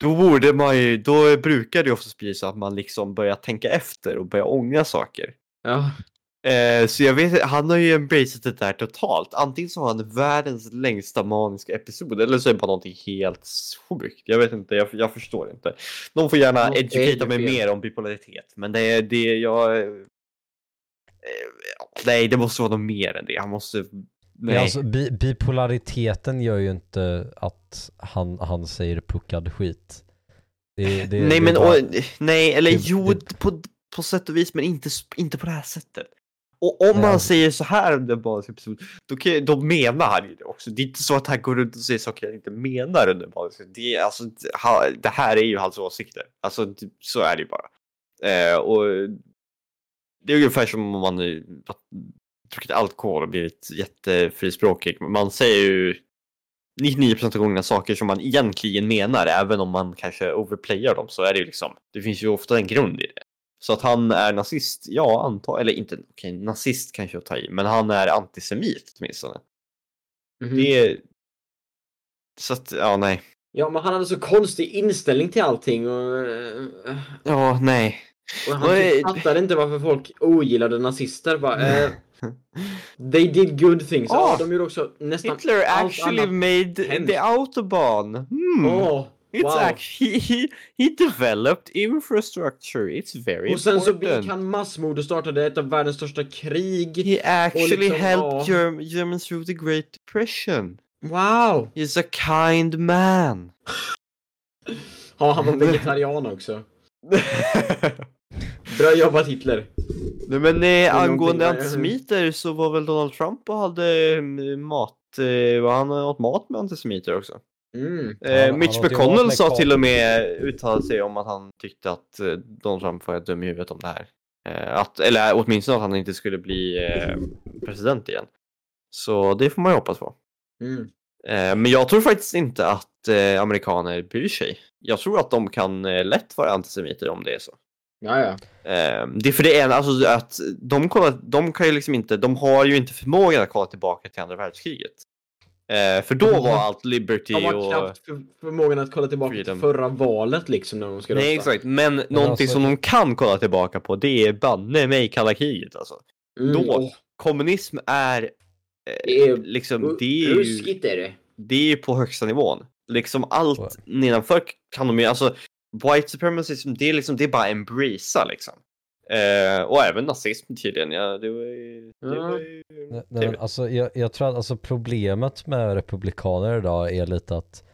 Speaker 2: Då borde man ju, då brukar det ju oftast bli så att man liksom börjar tänka efter och börjar ångra saker.
Speaker 3: Ja.
Speaker 2: Eh, så jag vet han har ju embraced det där totalt. Antingen så har han världens längsta maniska episod eller så är det bara någonting helt sjukt. Jag vet inte, jag, jag förstår inte. Någon får gärna
Speaker 3: Något är
Speaker 2: educata
Speaker 3: ju
Speaker 2: mig
Speaker 3: fel.
Speaker 2: mer om bipolaritet, men det är det jag... eh, ja, nej, det måste vara något mer än det. Han måste...
Speaker 1: Men
Speaker 2: Nej.
Speaker 1: alltså, bi bipolariteten gör ju inte att han, han säger puckad skit. Det, det, det
Speaker 2: nej
Speaker 1: är
Speaker 2: men
Speaker 1: bara-
Speaker 2: och, nej eller
Speaker 1: det-
Speaker 2: jo
Speaker 1: det-
Speaker 2: på, på sätt och vis men inte, s- inte på det här sättet. Och om
Speaker 1: Nej,
Speaker 2: man
Speaker 1: alltså-
Speaker 2: säger så här om den maniska episoden, då, kan, jag- då menar han ju det också. Det är inte så att han går runt och säger saker han inte menar under maniska det, är- alltså, det- ha- det här är ju hans åsikter. Alltså det- så är det ju bara. Eh, och det är ungefär som om man eh, druckit alkohol och blivit jättefrispråkig. Man säger ju 99% av gångerna saker som man egentligen menar, även om man kanske overplayar dem så är det ju liksom, det finns ju ofta en grund i det. Så att han är nazist, ja antar, eller inte, okej nazist kanske jag tar i, men han är antisemit åtminstone.
Speaker 3: Mhm.
Speaker 2: Det är... Så att, ja nej.
Speaker 3: Ja, men han hade så konstig inställning till allting och, eh,
Speaker 2: Ja, nej.
Speaker 3: och han
Speaker 2: Vad är-
Speaker 3: typ fattade inte varför folk ogillade nazister. Bara, eh, they did good things. Ja,
Speaker 2: Ah.
Speaker 3: de gjorde också nästan...
Speaker 2: Hitler
Speaker 3: allt
Speaker 2: actually
Speaker 3: annat
Speaker 2: made
Speaker 3: hemskt.
Speaker 2: the autobahn. Hmm.
Speaker 3: Åh,
Speaker 2: It's
Speaker 3: wow.
Speaker 2: act- he, he, he developed infrastructure, it's very
Speaker 3: Och sen så
Speaker 2: important.
Speaker 3: begick han massmord och startade ett av världens största krig.
Speaker 2: He actually
Speaker 3: liksom,
Speaker 2: helped
Speaker 3: ja.
Speaker 2: Germ- Germans through the Great Depression.
Speaker 3: Wow!
Speaker 2: He's a kind man.
Speaker 3: Ja, han var vegetarian också. Bra jobbat Hitler.
Speaker 2: Nej, men eh,
Speaker 3: någonting
Speaker 2: angående
Speaker 3: där, ja.
Speaker 2: antisemiter så var väl Donald Trump och hade eh, mat, eh, var han åt mat med antisemiter också.
Speaker 3: Mm.
Speaker 1: Han-
Speaker 2: Eh,
Speaker 1: han
Speaker 2: Mitch
Speaker 1: åt ju mat
Speaker 2: McConnell
Speaker 1: med
Speaker 2: sa
Speaker 1: kakor.
Speaker 2: till och med, eh, uttalade sig om att han tyckte att eh, Donald Trump var dum i huvudet om det här. Eh, att, eller åtminstone att han inte skulle bli eh, president igen. Så det får man ju hoppas på.
Speaker 3: Mm.
Speaker 2: Eh, Men jag tror faktiskt inte att eh, amerikaner bryr sig. Jag tror att de kan eh, lätt vara antisemiter om det är så.
Speaker 3: Ja, ja.
Speaker 2: Eh, Det är för det är en, alltså att de, kollar, de kan ju liksom inte, de har ju inte förmågan att kolla tillbaka till andra världskriget. Eh, För då
Speaker 3: De
Speaker 2: var
Speaker 3: har-
Speaker 2: allt liberty
Speaker 3: De har
Speaker 2: och...
Speaker 3: knappt för, förmågan att kolla tillbaka
Speaker 2: Freedom.
Speaker 3: till förra valet liksom när de ska
Speaker 2: Nej exakt, men, någonting
Speaker 1: alltså-
Speaker 2: som de kan kolla tillbaka på det är banne mig kalla kriget alltså.
Speaker 3: Mm.
Speaker 2: Då.
Speaker 3: åh,
Speaker 2: Kommunism är
Speaker 3: det är
Speaker 2: liksom,
Speaker 3: ru-
Speaker 2: det är ju...
Speaker 3: ruskigt är det.
Speaker 2: det är ju på högsta nivån. Liksom allt
Speaker 1: Wow.
Speaker 2: nedanför kan de ju, alltså white supremacism det är liksom, det är bara embracea liksom. Eh, och även nazism tydligen, ja det var ju... Det
Speaker 3: Ja.
Speaker 2: var ju...
Speaker 1: Nej, nej, men alltså, jag, jag tror att alltså, problemet med republikaner idag är lite att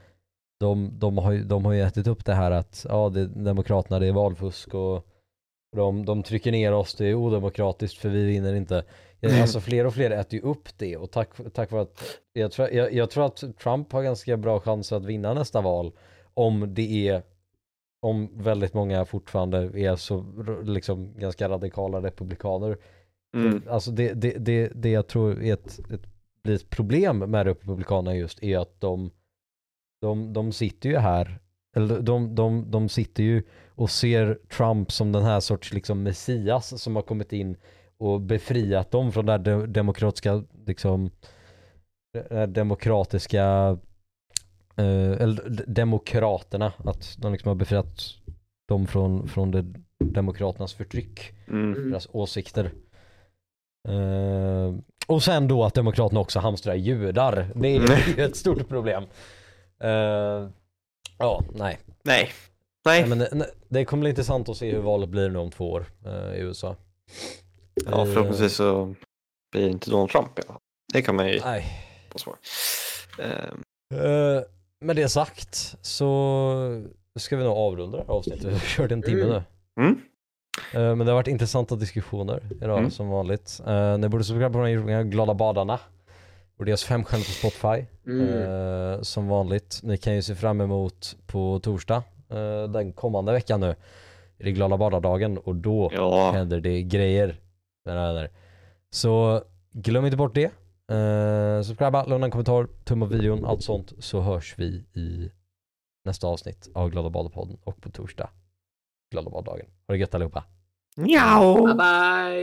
Speaker 1: de, de, har, ju- de har ju ätit upp det här att ja, det, demokraterna det är valfusk och de, de trycker ner oss, det är odemokratiskt för vi vinner inte. Jag- Alltså fler och fler äter ju upp det och tack, tack vare att jag tror, jag, jag tror att Trump har ganska bra chanser att vinna nästa val om det är om väldigt många fortfarande är så r- liksom ganska radikala republikaner
Speaker 2: Mm.
Speaker 1: Alltså det, det, det, det jag tror är ett, ett, blir ett problem med Republikanerna just är att de, de, de sitter ju här, eller de, de, de sitter ju och ser Trump som den här sorts liksom messias som har kommit in och befriat dem från det här de, demokratiska, liksom, det här demokratiska, eh, eller d- demokraterna, att de liksom har befriat dem från, från det, demokraternas förtryck
Speaker 2: Mm.
Speaker 3: Mm.
Speaker 1: deras åsikter. Eh, och sen då att Demokraterna också hamstrar judar. Det är ju ett stort problem. Eh, ja, nej. nej
Speaker 2: Nej. Nej.
Speaker 1: men det, nej, det kommer bli intressant att se hur valet blir nu om två år eh, i USA. eh,
Speaker 2: Ja, förhoppningsvis så blir det inte Donald Trump i alla fall. Det kan man ju
Speaker 1: Eh, nej.
Speaker 2: hoppas på. Eh,
Speaker 1: Eh, med det sagt så ska vi nog avrunda det här avsnittet. Vi har kört en timme nu.
Speaker 2: Mm.
Speaker 1: Eh, Men det har varit intressanta diskussioner idag
Speaker 2: Mm.
Speaker 1: som vanligt. Eh, Ni borde subscribera på de här glada badarna och deras fem stjärnor på Spotify.
Speaker 3: Mm.
Speaker 1: Eh, som vanligt. Ni kan ju se fram emot på torsdag eh, den kommande veckan nu. I det glada badardagen och då
Speaker 2: Ja,
Speaker 1: händer det grejer. Mina vänner. Så glöm inte bort det. Uh, subscriba, lämna en kommentar, tumma på videon, allt sånt. Så hörs vi i nästa avsnitt av Glada Badarpodden och på torsdag. Glada Badardagen. Ha det gött allihopa.
Speaker 2: Njau.
Speaker 3: Bye bye!